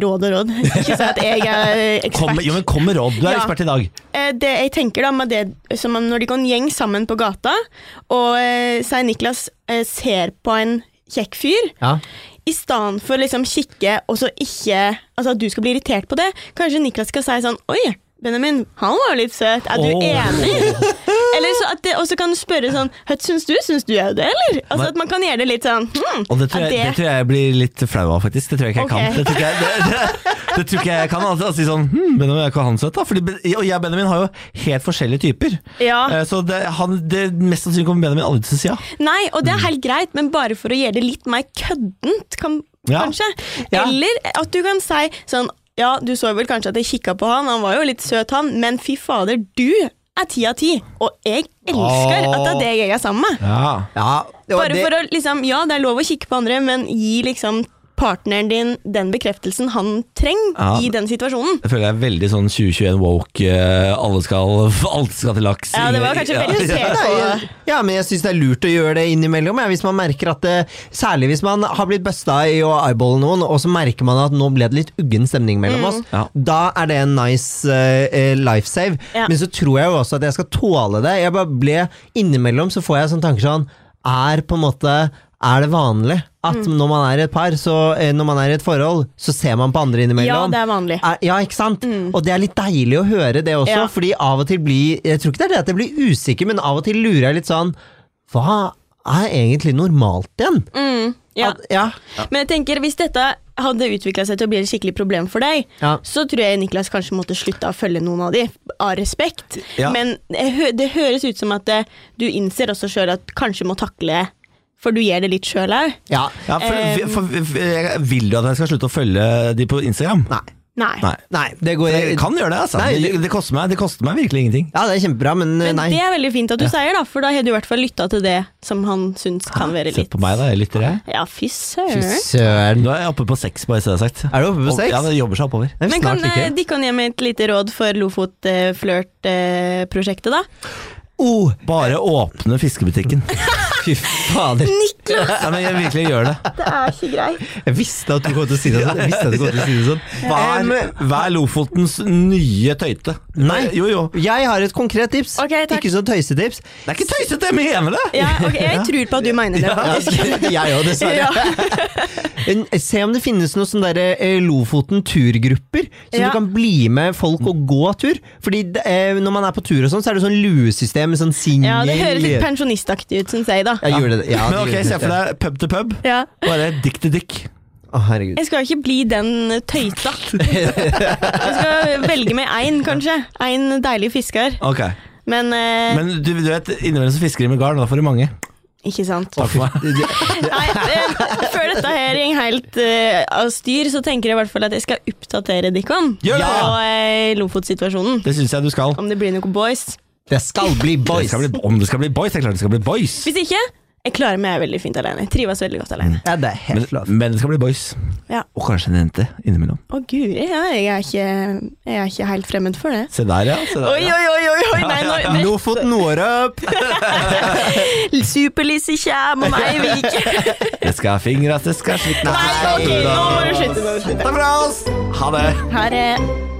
Speaker 3: råd og råd, ikke si at jeg er
Speaker 1: Kom,
Speaker 3: ekspert.
Speaker 1: jo, men kom med råd. Du er
Speaker 3: Ja.
Speaker 1: ekspert i dag.
Speaker 3: Eh, Det jeg tenker da med det som om når de kan gjeng sammen på gata, og eh, Sei Niklas eh, ser på en kjekk fyr,
Speaker 2: Ja.
Speaker 3: i stedet for liksom kikke og så ikke Altså at du skal bli irritert på det, kanskje Niklas skal si sånn Oi, Benjamin, han var jo litt søt. Er du
Speaker 1: Åh.
Speaker 3: enig? Eller så at det også kan du spørre sånn Hva syns du? Syns du òg det, eller? Altså at man kan gjøre det litt sånn hm,
Speaker 1: Og det tror,
Speaker 3: er
Speaker 1: jeg, det tror jeg blir litt flau av, faktisk. Det tror jeg ikke jeg
Speaker 3: Ok.
Speaker 1: kan. Det tror ikke jeg, det, det, det tror ikke jeg kan altså, si sånn hm, Benjamin er ikke han søt, da? Fordi, Ben- og jeg og Benjamin har jo helt forskjellige typer.
Speaker 3: Ja.
Speaker 1: Eh, Så det, han, det mest sannsynlig kommer Benjamin aldri til å si ja.
Speaker 3: Nei, og det
Speaker 1: Mm.
Speaker 3: er helt greit, men bare for å gjøre det litt mer køddent, kan,
Speaker 1: Ja.
Speaker 3: kanskje.
Speaker 1: Ja.
Speaker 3: Eller at du kan si sånn Ja, du så vel kanskje at jeg kikka på han, han var jo litt søt, han, men fy fader, du er ti av ti, og jeg elsker at det er det jeg er sammen med.
Speaker 1: Ja.
Speaker 2: Ja, og
Speaker 3: Bare
Speaker 2: det-
Speaker 3: for å liksom Ja, det er lov å kikke på andre, men gi liksom partneren din den bekreftelsen han trenger
Speaker 1: Ja.
Speaker 3: i den situasjonen.
Speaker 1: Jeg føler jeg er veldig sånn 2021 woke, eh, alle skal, alt skal til laks.
Speaker 3: Ja, det var kanskje
Speaker 1: Ja.
Speaker 3: veldig
Speaker 2: Ja,
Speaker 3: skjevt.
Speaker 2: nei, jeg- ja, men jeg syns det er lurt å gjøre det innimellom. Ja, hvis man merker at det, Særlig hvis man har blitt busta i å eyeballe noen, og så merker man at nå ble det litt uggen stemning mellom
Speaker 3: Mm.
Speaker 2: oss.
Speaker 1: Ja.
Speaker 2: Da er det en nice uh, life save.
Speaker 3: Ja.
Speaker 2: Men så tror jeg jo også at jeg skal tåle det. Jeg bare ble Innimellom så får jeg sånn tanker sånn Er på en måte er det vanlig at
Speaker 3: Mm.
Speaker 2: når man er i et par, så, eh, når man er i et forhold, så ser man på andre innimellom?
Speaker 3: Ja, det er vanlig.
Speaker 2: Er- Ja, ikke sant? Og det er litt deilig å høre det også,
Speaker 3: Mm. Ja.
Speaker 2: fordi av og til blir Jeg tror ikke det er det at jeg blir usikker, men av og til lurer jeg litt sånn Hva er egentlig normalt igjen?
Speaker 3: Mm. Ja.
Speaker 2: At, ja.
Speaker 3: Men jeg tenker, hvis dette hadde utvikla seg til å bli et skikkelig problem for deg,
Speaker 2: Ja.
Speaker 3: så tror jeg Niklas kanskje måtte slutte å følge noen av de, av respekt.
Speaker 1: Ja.
Speaker 3: Men det hø- det høres ut som at eh, du innser også sjøl at kanskje må takle For du gjør det litt sjøl òg.
Speaker 2: ja.
Speaker 1: Ja,
Speaker 3: Eh,
Speaker 1: for, for, for, jeg vil du at jeg skal slutte å følge de på Instagram?
Speaker 2: Nei.
Speaker 3: Nei.
Speaker 1: Nei.
Speaker 2: Nei, det går
Speaker 1: Jeg kan gjøre det, altså.
Speaker 2: Nei,
Speaker 1: det, det, koster meg, det koster meg virkelig ingenting.
Speaker 2: Ja, det er kjempebra, men, eh,
Speaker 3: Men
Speaker 2: nei.
Speaker 3: det er veldig fint at du sier, da, for da har du i hvert fall lytta til det som han syns kan være
Speaker 1: Se
Speaker 3: litt
Speaker 1: på meg, da. Jeg lytter, jeg.
Speaker 3: Ja, fy søren.
Speaker 2: Søren.
Speaker 1: Nå er jeg oppe på seks, bare så det er sagt.
Speaker 2: Er du oppe på
Speaker 1: Og-
Speaker 2: seks?
Speaker 1: Ja, det jobber seg oppover.
Speaker 2: Det er
Speaker 3: Men kan
Speaker 2: snart ikke.
Speaker 3: eh, de kan gi meg et lite råd for Lofotflørt-prosjektet, da?
Speaker 1: Oh, bare åpne fiskebutikken.
Speaker 2: Fy fader.
Speaker 1: ja, men jeg virkelig gjør det.
Speaker 3: Det er ikke greit.
Speaker 2: Jeg visste at du kom til å si det sånn. Jeg visste at du kom til å si det sånn.
Speaker 1: Vær, vær Lofotens nye tøyte.
Speaker 2: Nei.
Speaker 1: Jo, jo.
Speaker 2: Jeg har et konkret tips.
Speaker 3: Ok, takk.
Speaker 2: Ikke sånn tøysetips.
Speaker 1: Det er ikke tøysete, jeg mener det!
Speaker 3: Ja, ok, jeg tror på at du mener det.
Speaker 2: Ja, jeg òg, dessverre.
Speaker 3: Ja.
Speaker 2: En- Se om det finnes noen sånne der, eh, Lofoten turgrupper, så
Speaker 3: Ja.
Speaker 2: du kan bli med folk og gå tur. Fordi det, eh, når man er på tur og sånn, så er det sånn luesystem med sånn singing
Speaker 3: Ja, det høres litt pensjonistaktig ut, syns jeg, da.
Speaker 2: Ja, gjorde det. Ja,
Speaker 1: Men
Speaker 2: det
Speaker 1: ok,
Speaker 2: gjorde
Speaker 1: se
Speaker 2: det.
Speaker 1: for deg pub til pub.
Speaker 3: Ja.
Speaker 1: Bare dick til dick.
Speaker 2: Å, herregud.
Speaker 3: Jeg skal jo ikke bli den tøyta. Jeg skal velge meg én, kanskje. Én deilig fisker.
Speaker 1: Ok,
Speaker 3: Men, eh,
Speaker 1: Men du, du vet, innimellom så fisker de med garn, og da får de mange.
Speaker 3: ikke sant.
Speaker 1: Takk for meg.
Speaker 3: Nei, eh, før dette her går helt eh, av styr, så tenker jeg i hvert fall at jeg skal oppdatere Dickon
Speaker 1: Gjør det!
Speaker 3: og eh, Lofot-situasjonen.
Speaker 1: Det syns jeg du skal.
Speaker 3: Om det blir noe boys.
Speaker 2: Det skal bli
Speaker 1: Det
Speaker 2: boys!
Speaker 1: skal bli, om det skal bli boys, det er klart det skal bli boys.
Speaker 3: Hvis ikke, Jeg klarer meg veldig fint alene. Jeg trives veldig godt alene.
Speaker 2: Ja, det er
Speaker 1: Men,
Speaker 2: helt lov.
Speaker 1: men det skal bli boys.
Speaker 3: Ja.
Speaker 1: Og kanskje en jente innimellom.
Speaker 3: Å guri, ja, jeg, er ikke, jeg er ikke helt fremmed for det.
Speaker 1: Se der, ja. Se der,
Speaker 3: Oi,
Speaker 1: ja.
Speaker 3: oi, oi! oi, oi. Nei, nå,
Speaker 2: Lofoten, Nordøp!
Speaker 3: Super-Lise kjem, og meg viker.
Speaker 1: Jeg skal ha fingra, jeg skal ha
Speaker 3: Nei, ok, nå må du slutte. nå må du slutte.
Speaker 1: Takk for oss! Ha det!
Speaker 3: Her er